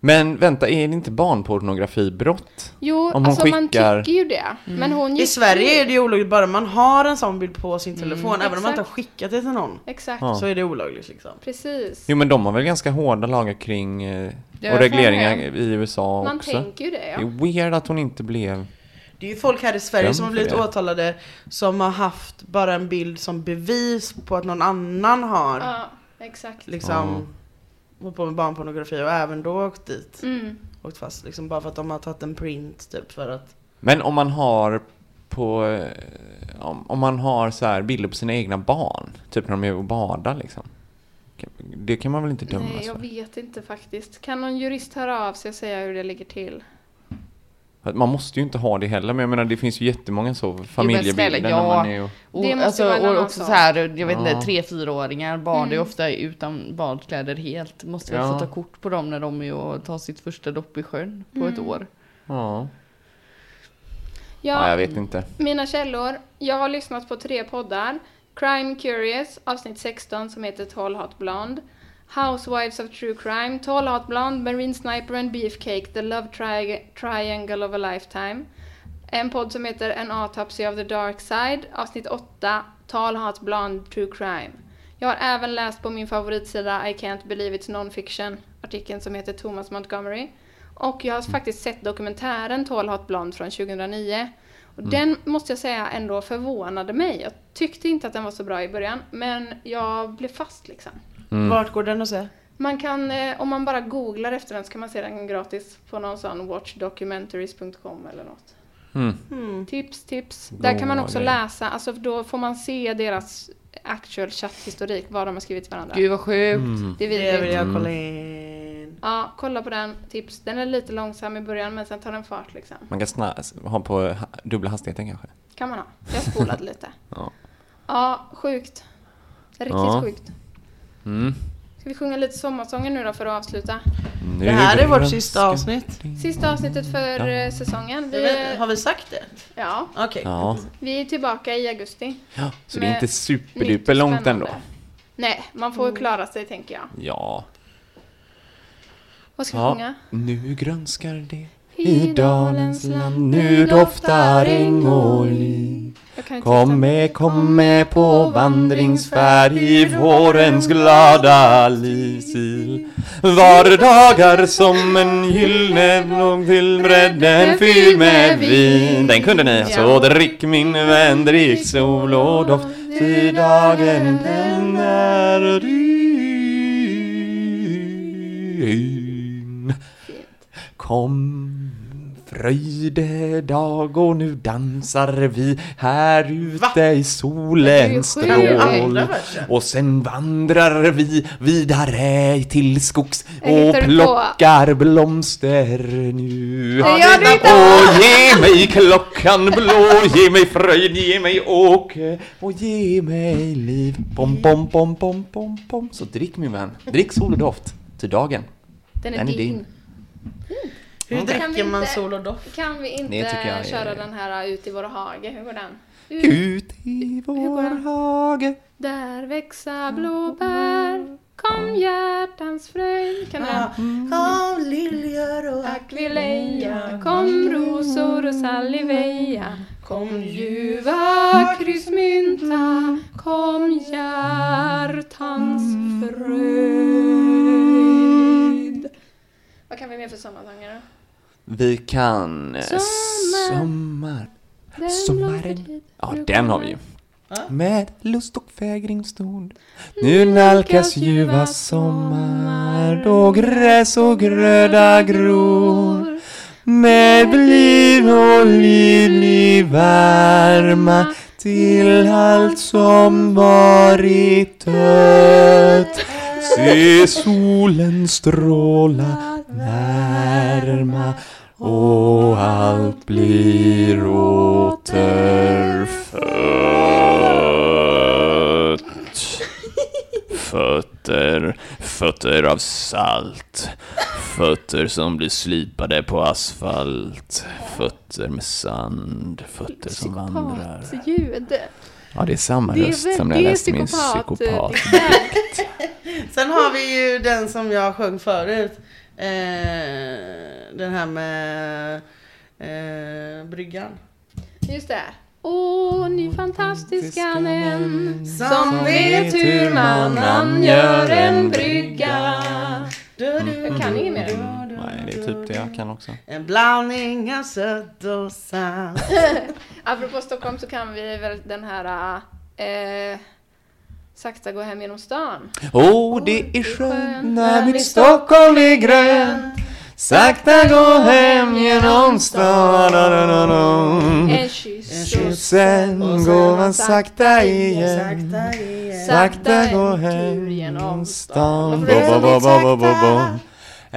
Speaker 4: Men vänta, är det inte barnpornografibrott?
Speaker 1: Jo,
Speaker 4: Om hon
Speaker 1: alltså man
Speaker 4: skickar-
Speaker 1: tycker ju det. Men hon
Speaker 3: I
Speaker 1: gick
Speaker 3: Sverige är det ju olagligt bara man har en sån bild på sin telefon. även om man inte har
Speaker 1: Mm, exakt.
Speaker 3: skickat det till någon.
Speaker 1: Exakt,
Speaker 4: Ja.
Speaker 3: Så är det olagligt liksom.
Speaker 1: precis.
Speaker 4: Jo, men de har väl ganska hårda lagar kring... eh,
Speaker 2: Ja,
Speaker 4: Och
Speaker 2: jag
Speaker 4: regleringar
Speaker 2: tror
Speaker 4: i USA
Speaker 1: Man
Speaker 4: också.
Speaker 1: tänker ju det,
Speaker 4: Det är
Speaker 1: ja.
Speaker 4: weird att hon inte blev...
Speaker 3: Det är ju folk här i Sverige
Speaker 4: Dömd
Speaker 3: som har
Speaker 4: för
Speaker 3: blivit
Speaker 4: det.
Speaker 3: åtalade som har haft bara en bild som bevis på att någon annan har
Speaker 1: Ja, exakt.
Speaker 3: liksom hållit på med barnpornografi och även då åkt dit.
Speaker 1: Mm.
Speaker 3: Åkt fast liksom bara för att de har tagit en print typ för att
Speaker 4: Men om man har på... eh, Om, om man har så här bilder på sina egna barn, typ när de är och badar liksom. Det kan man väl inte dömas
Speaker 1: Nej, jag
Speaker 4: för?
Speaker 1: vet inte faktiskt. Kan någon jurist höra av sig och säga hur det ligger till?
Speaker 4: Att Man måste ju inte ha det heller, men jag menar det finns ju jättemånga så familjebilder
Speaker 2: snälla,
Speaker 4: när man
Speaker 2: ja.
Speaker 4: är och...
Speaker 2: Och,
Speaker 1: Det måste
Speaker 2: alltså,
Speaker 1: vara en
Speaker 2: och
Speaker 1: annan
Speaker 2: också
Speaker 1: sak.
Speaker 2: så här, jag vet
Speaker 4: Ja.
Speaker 2: inte, tre fyraåringar badar ju ofta utan badkläder helt. Måste väl
Speaker 4: Ja.
Speaker 2: få ta kort på dem när de är och tar sitt första dopp i sjön på ett år.
Speaker 4: Ja.
Speaker 1: Ja,
Speaker 4: ja, jag vet inte.
Speaker 1: Mina källor. Jag har lyssnat på tre poddar. Crime Curious, avsnitt 16 som heter Tall Hot Blonde. Housewives of True Crime, Tall Hot Blonde, Marine Sniper and Beefcake, The Love tri- Triangle of a Lifetime. En podd som heter An Autopsy of the Dark Side, avsnitt 8, Tall Hot Blonde, True Crime. Jag har även läst på min favoritsida I Can't Believe It's Nonfiction, artikeln som heter Thomas Montgomery. Och jag har faktiskt sett dokumentären Tall Hot Blonde från 2009. Och
Speaker 4: Mm.
Speaker 1: Den måste jag säga ändå förvånade mig. Jag tyckte inte att den var så bra i början, men jag blev fast liksom.
Speaker 4: Mm.
Speaker 3: Vart går den att se?
Speaker 1: Man kan, eh, om man bara googlar efter den så kan man se den gratis på någon sån watchdocumentaries.com eller något.
Speaker 4: Mm.
Speaker 1: Tips, tips. Där kan man också
Speaker 4: grejer.
Speaker 1: läsa, alltså då får man se deras actual chatthistorik, vad de har skrivit till varandra.
Speaker 2: Gud vad sjukt.
Speaker 5: Mm.
Speaker 1: Det är
Speaker 3: Det vill
Speaker 1: vidrigt.
Speaker 3: jag kolla in.
Speaker 1: Ja, kolla på den, tips. Den är lite långsam i början men sen tar den fart liksom.
Speaker 4: Man kan snä- ha på ha- dubbla hastigheten kanske.
Speaker 1: Kan man ha. Jag spolade lite.
Speaker 4: *laughs* Ja.
Speaker 1: Ja, sjukt. Riktigt
Speaker 4: Ja.
Speaker 1: sjukt.
Speaker 4: Mm.
Speaker 1: Ska vi sjunga lite sommarsånger nu då för att avsluta?
Speaker 4: Nu
Speaker 3: Det här är vårt
Speaker 4: grönska.
Speaker 3: sista avsnitt.
Speaker 1: Sista avsnittet för eh, säsongen.
Speaker 3: Jag
Speaker 1: Vi,
Speaker 3: vet- Har vi sagt det?
Speaker 1: ja,
Speaker 3: Okej.
Speaker 4: Ja,
Speaker 1: vi är tillbaka i augusti.
Speaker 4: Ja, så det är
Speaker 1: Med
Speaker 4: inte
Speaker 1: nytt
Speaker 4: superduper
Speaker 1: och
Speaker 4: långt ändå.
Speaker 1: spännande. Nej, man får klara sig tänker jag.
Speaker 4: Ja.
Speaker 1: Vad ska vi
Speaker 4: ja.
Speaker 1: sjunga?
Speaker 4: Nu grönskar det i dalens land, nu doftar äng och liv.
Speaker 1: Jag kan inte
Speaker 4: Kom
Speaker 1: sluta.
Speaker 4: med, kom med på vandringsfärd i vårens glada lisil. Vardagar som en gyllene blom till bredden fylld med vin. Den kunde ni. Så drick min vän, drick sol och doft, ty dagen den är din. Kom fröjdedag och nu dansar vi här ute i solens
Speaker 1: Det är ju sjukt.
Speaker 4: strål. Och sen vandrar vi vidare till skogs och
Speaker 1: hittar du på.
Speaker 4: plockar blomster nu.
Speaker 1: Det gör du inte!
Speaker 4: Åh, ge mig klockan blå, ge mig fröjd, ge mig åker och ge mig liv. Pom, pom, pom, pom, pom, pom. Så drick min vän, drick sol och doft till dagen.
Speaker 1: Den är
Speaker 4: Den är
Speaker 1: din.
Speaker 4: din.
Speaker 3: Hur
Speaker 1: Kan
Speaker 3: dricker
Speaker 1: vi
Speaker 3: man
Speaker 1: inte-
Speaker 3: sol och doft?
Speaker 1: Kan vi inte
Speaker 4: Det tycker jag är-
Speaker 1: köra den här uh, ut i våra hage? Hur går den?
Speaker 4: Ut i vår
Speaker 1: den?
Speaker 4: hage
Speaker 1: Där växa blåbär Kom hjärtans fröjd Kan du den?
Speaker 3: Kom liljor och
Speaker 1: Tack vi leja Kom rosor och saliveja. Kom ljuva kryssmynta, kom hjärtans
Speaker 4: Mm.
Speaker 1: fröjd. Vad kan vi mer för sommarsånger då?
Speaker 4: Vi kan... eh,
Speaker 1: Sommar.
Speaker 4: Sommar.
Speaker 1: Den
Speaker 4: Sommaren. Ja, den har vi ju. Med lust och fägring stod Nu nalkas ljuva sommar Då gräs och gröda gror Med bliv och liv, liv varma Till allt som varit dött Se solen stråla värma och allt blir återfött. Fötter, fötter av salt. Fötter som blir slipade på asfalt. Fötter med sand. Fötter som vandrar.
Speaker 1: Psykopatljud.
Speaker 4: Ja, det är samma
Speaker 1: Det är
Speaker 4: röst
Speaker 1: väl-
Speaker 4: som när
Speaker 1: det
Speaker 4: jag
Speaker 1: är
Speaker 4: läste min
Speaker 1: psykopat, eh,
Speaker 4: psykopat.
Speaker 3: Sen har vi ju den som jag sjöng förut. Eh, den här med eh, bryggan.
Speaker 1: Just det. Åh, ni fantastiska män
Speaker 3: Som
Speaker 1: som vet hur man angör en brygga. Mm.
Speaker 3: Du, du,
Speaker 1: Jag kan ingen mer.
Speaker 3: du,
Speaker 4: Nej, det är typ det jag kan också.
Speaker 3: En blandning av sött och salt.
Speaker 1: Apropå Stockholm så kan vi väl den här eh, Sakta gå hem genom stan.
Speaker 4: Åh, Oh, det är skönt när mitt Stockholm är grönt Sakta gå hem genom stan da, da, da, da.
Speaker 1: Mm. En kyss.
Speaker 4: Och sen går man sakta igen
Speaker 3: Sakta igen.
Speaker 4: Sakta gå hem genom stan Ba, ba, ba, ba, ba, ba, ba.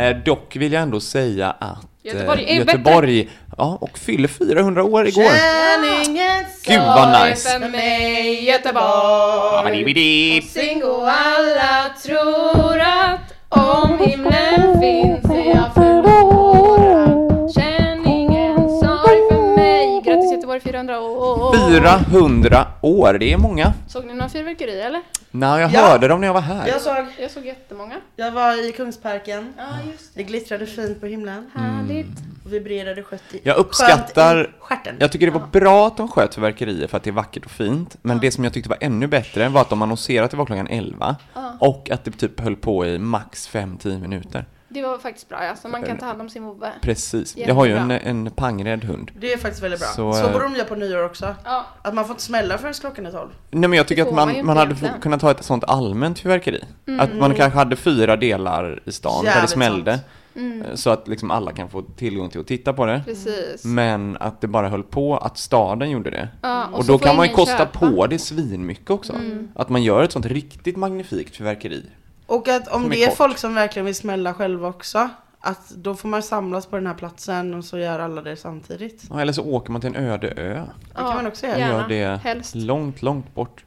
Speaker 4: Eh, dock vill jag ändå säga att eh,
Speaker 1: Göteborg är
Speaker 4: Göteborg ja, och fyller 400 år igår.
Speaker 3: Känn ingen
Speaker 4: Gud vad nice!
Speaker 1: För mig Göteborg. Singo alla tror att om himlen finns är jag förlorad. Känn ingen sorg för mig. Grattis Göteborg 400 år.
Speaker 4: 400 år, det är många.
Speaker 1: Såg ni några fyrverkeri eller?
Speaker 4: Nej, jag
Speaker 3: Ja.
Speaker 4: hörde dem när jag var här.
Speaker 3: Jag såg,
Speaker 1: Jag såg jättemånga.
Speaker 3: jag var i Kungsparken.
Speaker 1: Ja, just
Speaker 3: Det glittrade fint på himlen.
Speaker 1: Härligt.
Speaker 4: Mm.
Speaker 3: Och vibrerade skött i,
Speaker 4: Jag uppskattar-
Speaker 3: skönt i stjärten.
Speaker 4: Jag tycker det var bra att de sköt fyrverkerier för att det är vackert och fint. Men det som jag tyckte var ännu bättre var att de annonserade att det var klockan 11 och att det typ höll på i max 5-10 minuter.
Speaker 1: Det var faktiskt bra alltså. Man kan ta hand om sin vovve.
Speaker 4: Precis.
Speaker 1: Jättebra.
Speaker 4: Jag har ju en, en pangrädd hund.
Speaker 3: Det är faktiskt väldigt bra.
Speaker 4: Så,
Speaker 3: Så,
Speaker 4: eh,
Speaker 3: borde de göra på nyår också.
Speaker 1: Ja.
Speaker 3: Att man får inte smälla förrän klockan är tolv.
Speaker 4: Nej men jag tycker
Speaker 1: Det
Speaker 4: att
Speaker 1: får man ju
Speaker 4: man, man
Speaker 1: inte Mm.
Speaker 4: hade
Speaker 1: egentligen.
Speaker 4: få- kunnat ha ett sånt allmänt fyrverkeri. Att man kanske hade fyra delar i stan där det
Speaker 3: Jävligt
Speaker 4: smällde.
Speaker 3: sant.
Speaker 1: Mm.
Speaker 4: eh, Så att liksom alla kan få tillgång till att titta på det.
Speaker 1: Precis.
Speaker 4: Men att det bara höll på att staden gjorde det.
Speaker 1: Ja,
Speaker 4: Och,
Speaker 1: och så
Speaker 4: då
Speaker 1: får
Speaker 4: kan man ju
Speaker 1: ingen
Speaker 4: kosta
Speaker 1: köpa. Mm.
Speaker 4: på det svinmycket också. Att man gör ett sånt riktigt magnifikt fyrverkeri.
Speaker 3: Och att om
Speaker 4: Som är
Speaker 3: det är
Speaker 4: kort.
Speaker 3: folk som verkligen vill smälla själva också. Att då får man samlas på den här platsen och så gör alla det samtidigt. Det
Speaker 4: Ja, Eller så åker man till en öde ö.
Speaker 3: kan
Speaker 1: Ja,
Speaker 3: man också göra.
Speaker 1: ja.
Speaker 4: Gör
Speaker 1: Gärna,
Speaker 4: det
Speaker 1: helst.
Speaker 4: långt, långt bort.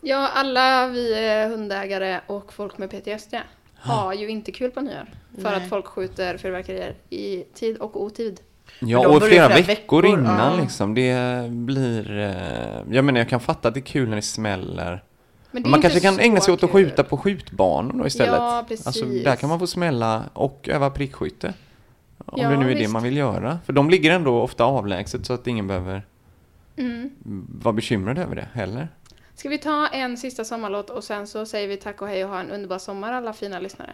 Speaker 1: Ja, alla vi eh, hundägare och folk med PTSD har ju inte kul på nyår. För
Speaker 3: Nej.
Speaker 1: att folk skjuter fyrverkerier i tid och otid.
Speaker 4: Ja,
Speaker 3: de
Speaker 4: och
Speaker 3: börjar
Speaker 4: flera
Speaker 3: flera
Speaker 4: veckor,
Speaker 3: veckor,
Speaker 4: innan
Speaker 3: ja.
Speaker 4: liksom. Det blir... eh, Jag menar, jag kan fatta att det är kul när det smäller.
Speaker 1: Men det är
Speaker 4: Man
Speaker 1: inte
Speaker 4: kanske kan
Speaker 1: så
Speaker 4: ägna sig åt att
Speaker 1: kul.
Speaker 4: skjuta på skjutbanor då istället.
Speaker 1: Ja, precis.
Speaker 4: Alltså, där kan man få smälla och öva prickskytte. Om
Speaker 1: Ja,
Speaker 4: det nu är det
Speaker 1: visst.
Speaker 4: man vill göra. För de ligger ändå ofta avlägset så att ingen behöver
Speaker 1: Mm.
Speaker 4: vara bekymrad över det heller.
Speaker 1: Ska vi ta en sista sommarlåt och sen så säger vi tack och hej och ha en underbar sommar alla fina lyssnare.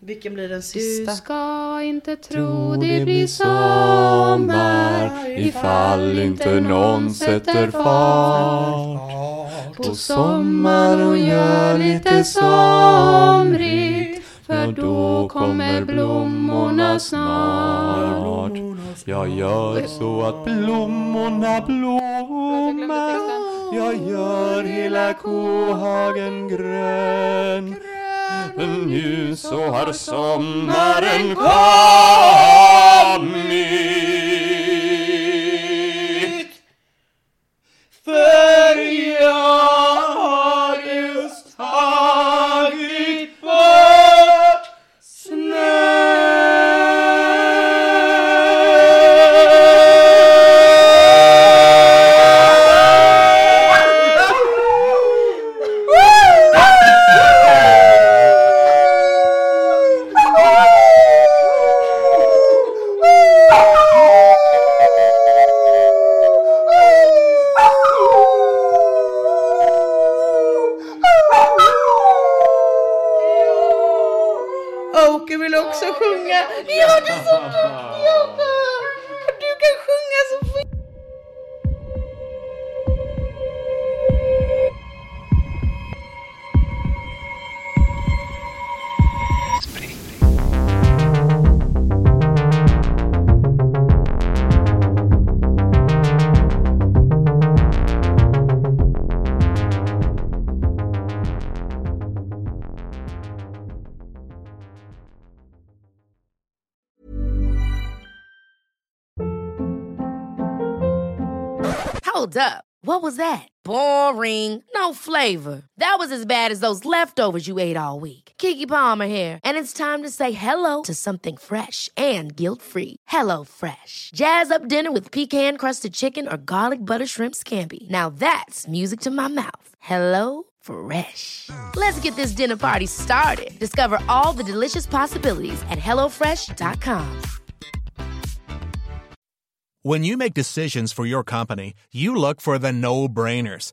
Speaker 3: Vilken blir den
Speaker 1: Du
Speaker 3: sista?
Speaker 1: ska inte tro det blir sommar ifall inte någon sätter fart. På sommaren gör lite somrigt för då kommer blommorna snart.
Speaker 4: Jag gör så att blommorna blommar Jag gör hela kohagen grön Men nu så har sommaren kommit För jag har just tagit bort snö!
Speaker 1: Du kan sjunga så fint!
Speaker 6: Hold up. What was that? Boring. No flavor. That was as bad as those leftovers you ate all week. Kiki Palmer here, and it's time to say hello to something fresh and guilt-free. Hello Fresh. Jazz up dinner with pecan-crusted chicken or garlic butter shrimp scampi. Now that's music to my mouth. Hello Fresh. Let's get this dinner party started. Discover all the delicious possibilities at hellofresh.com.
Speaker 5: When you make decisions for your company, you look for the no brainers.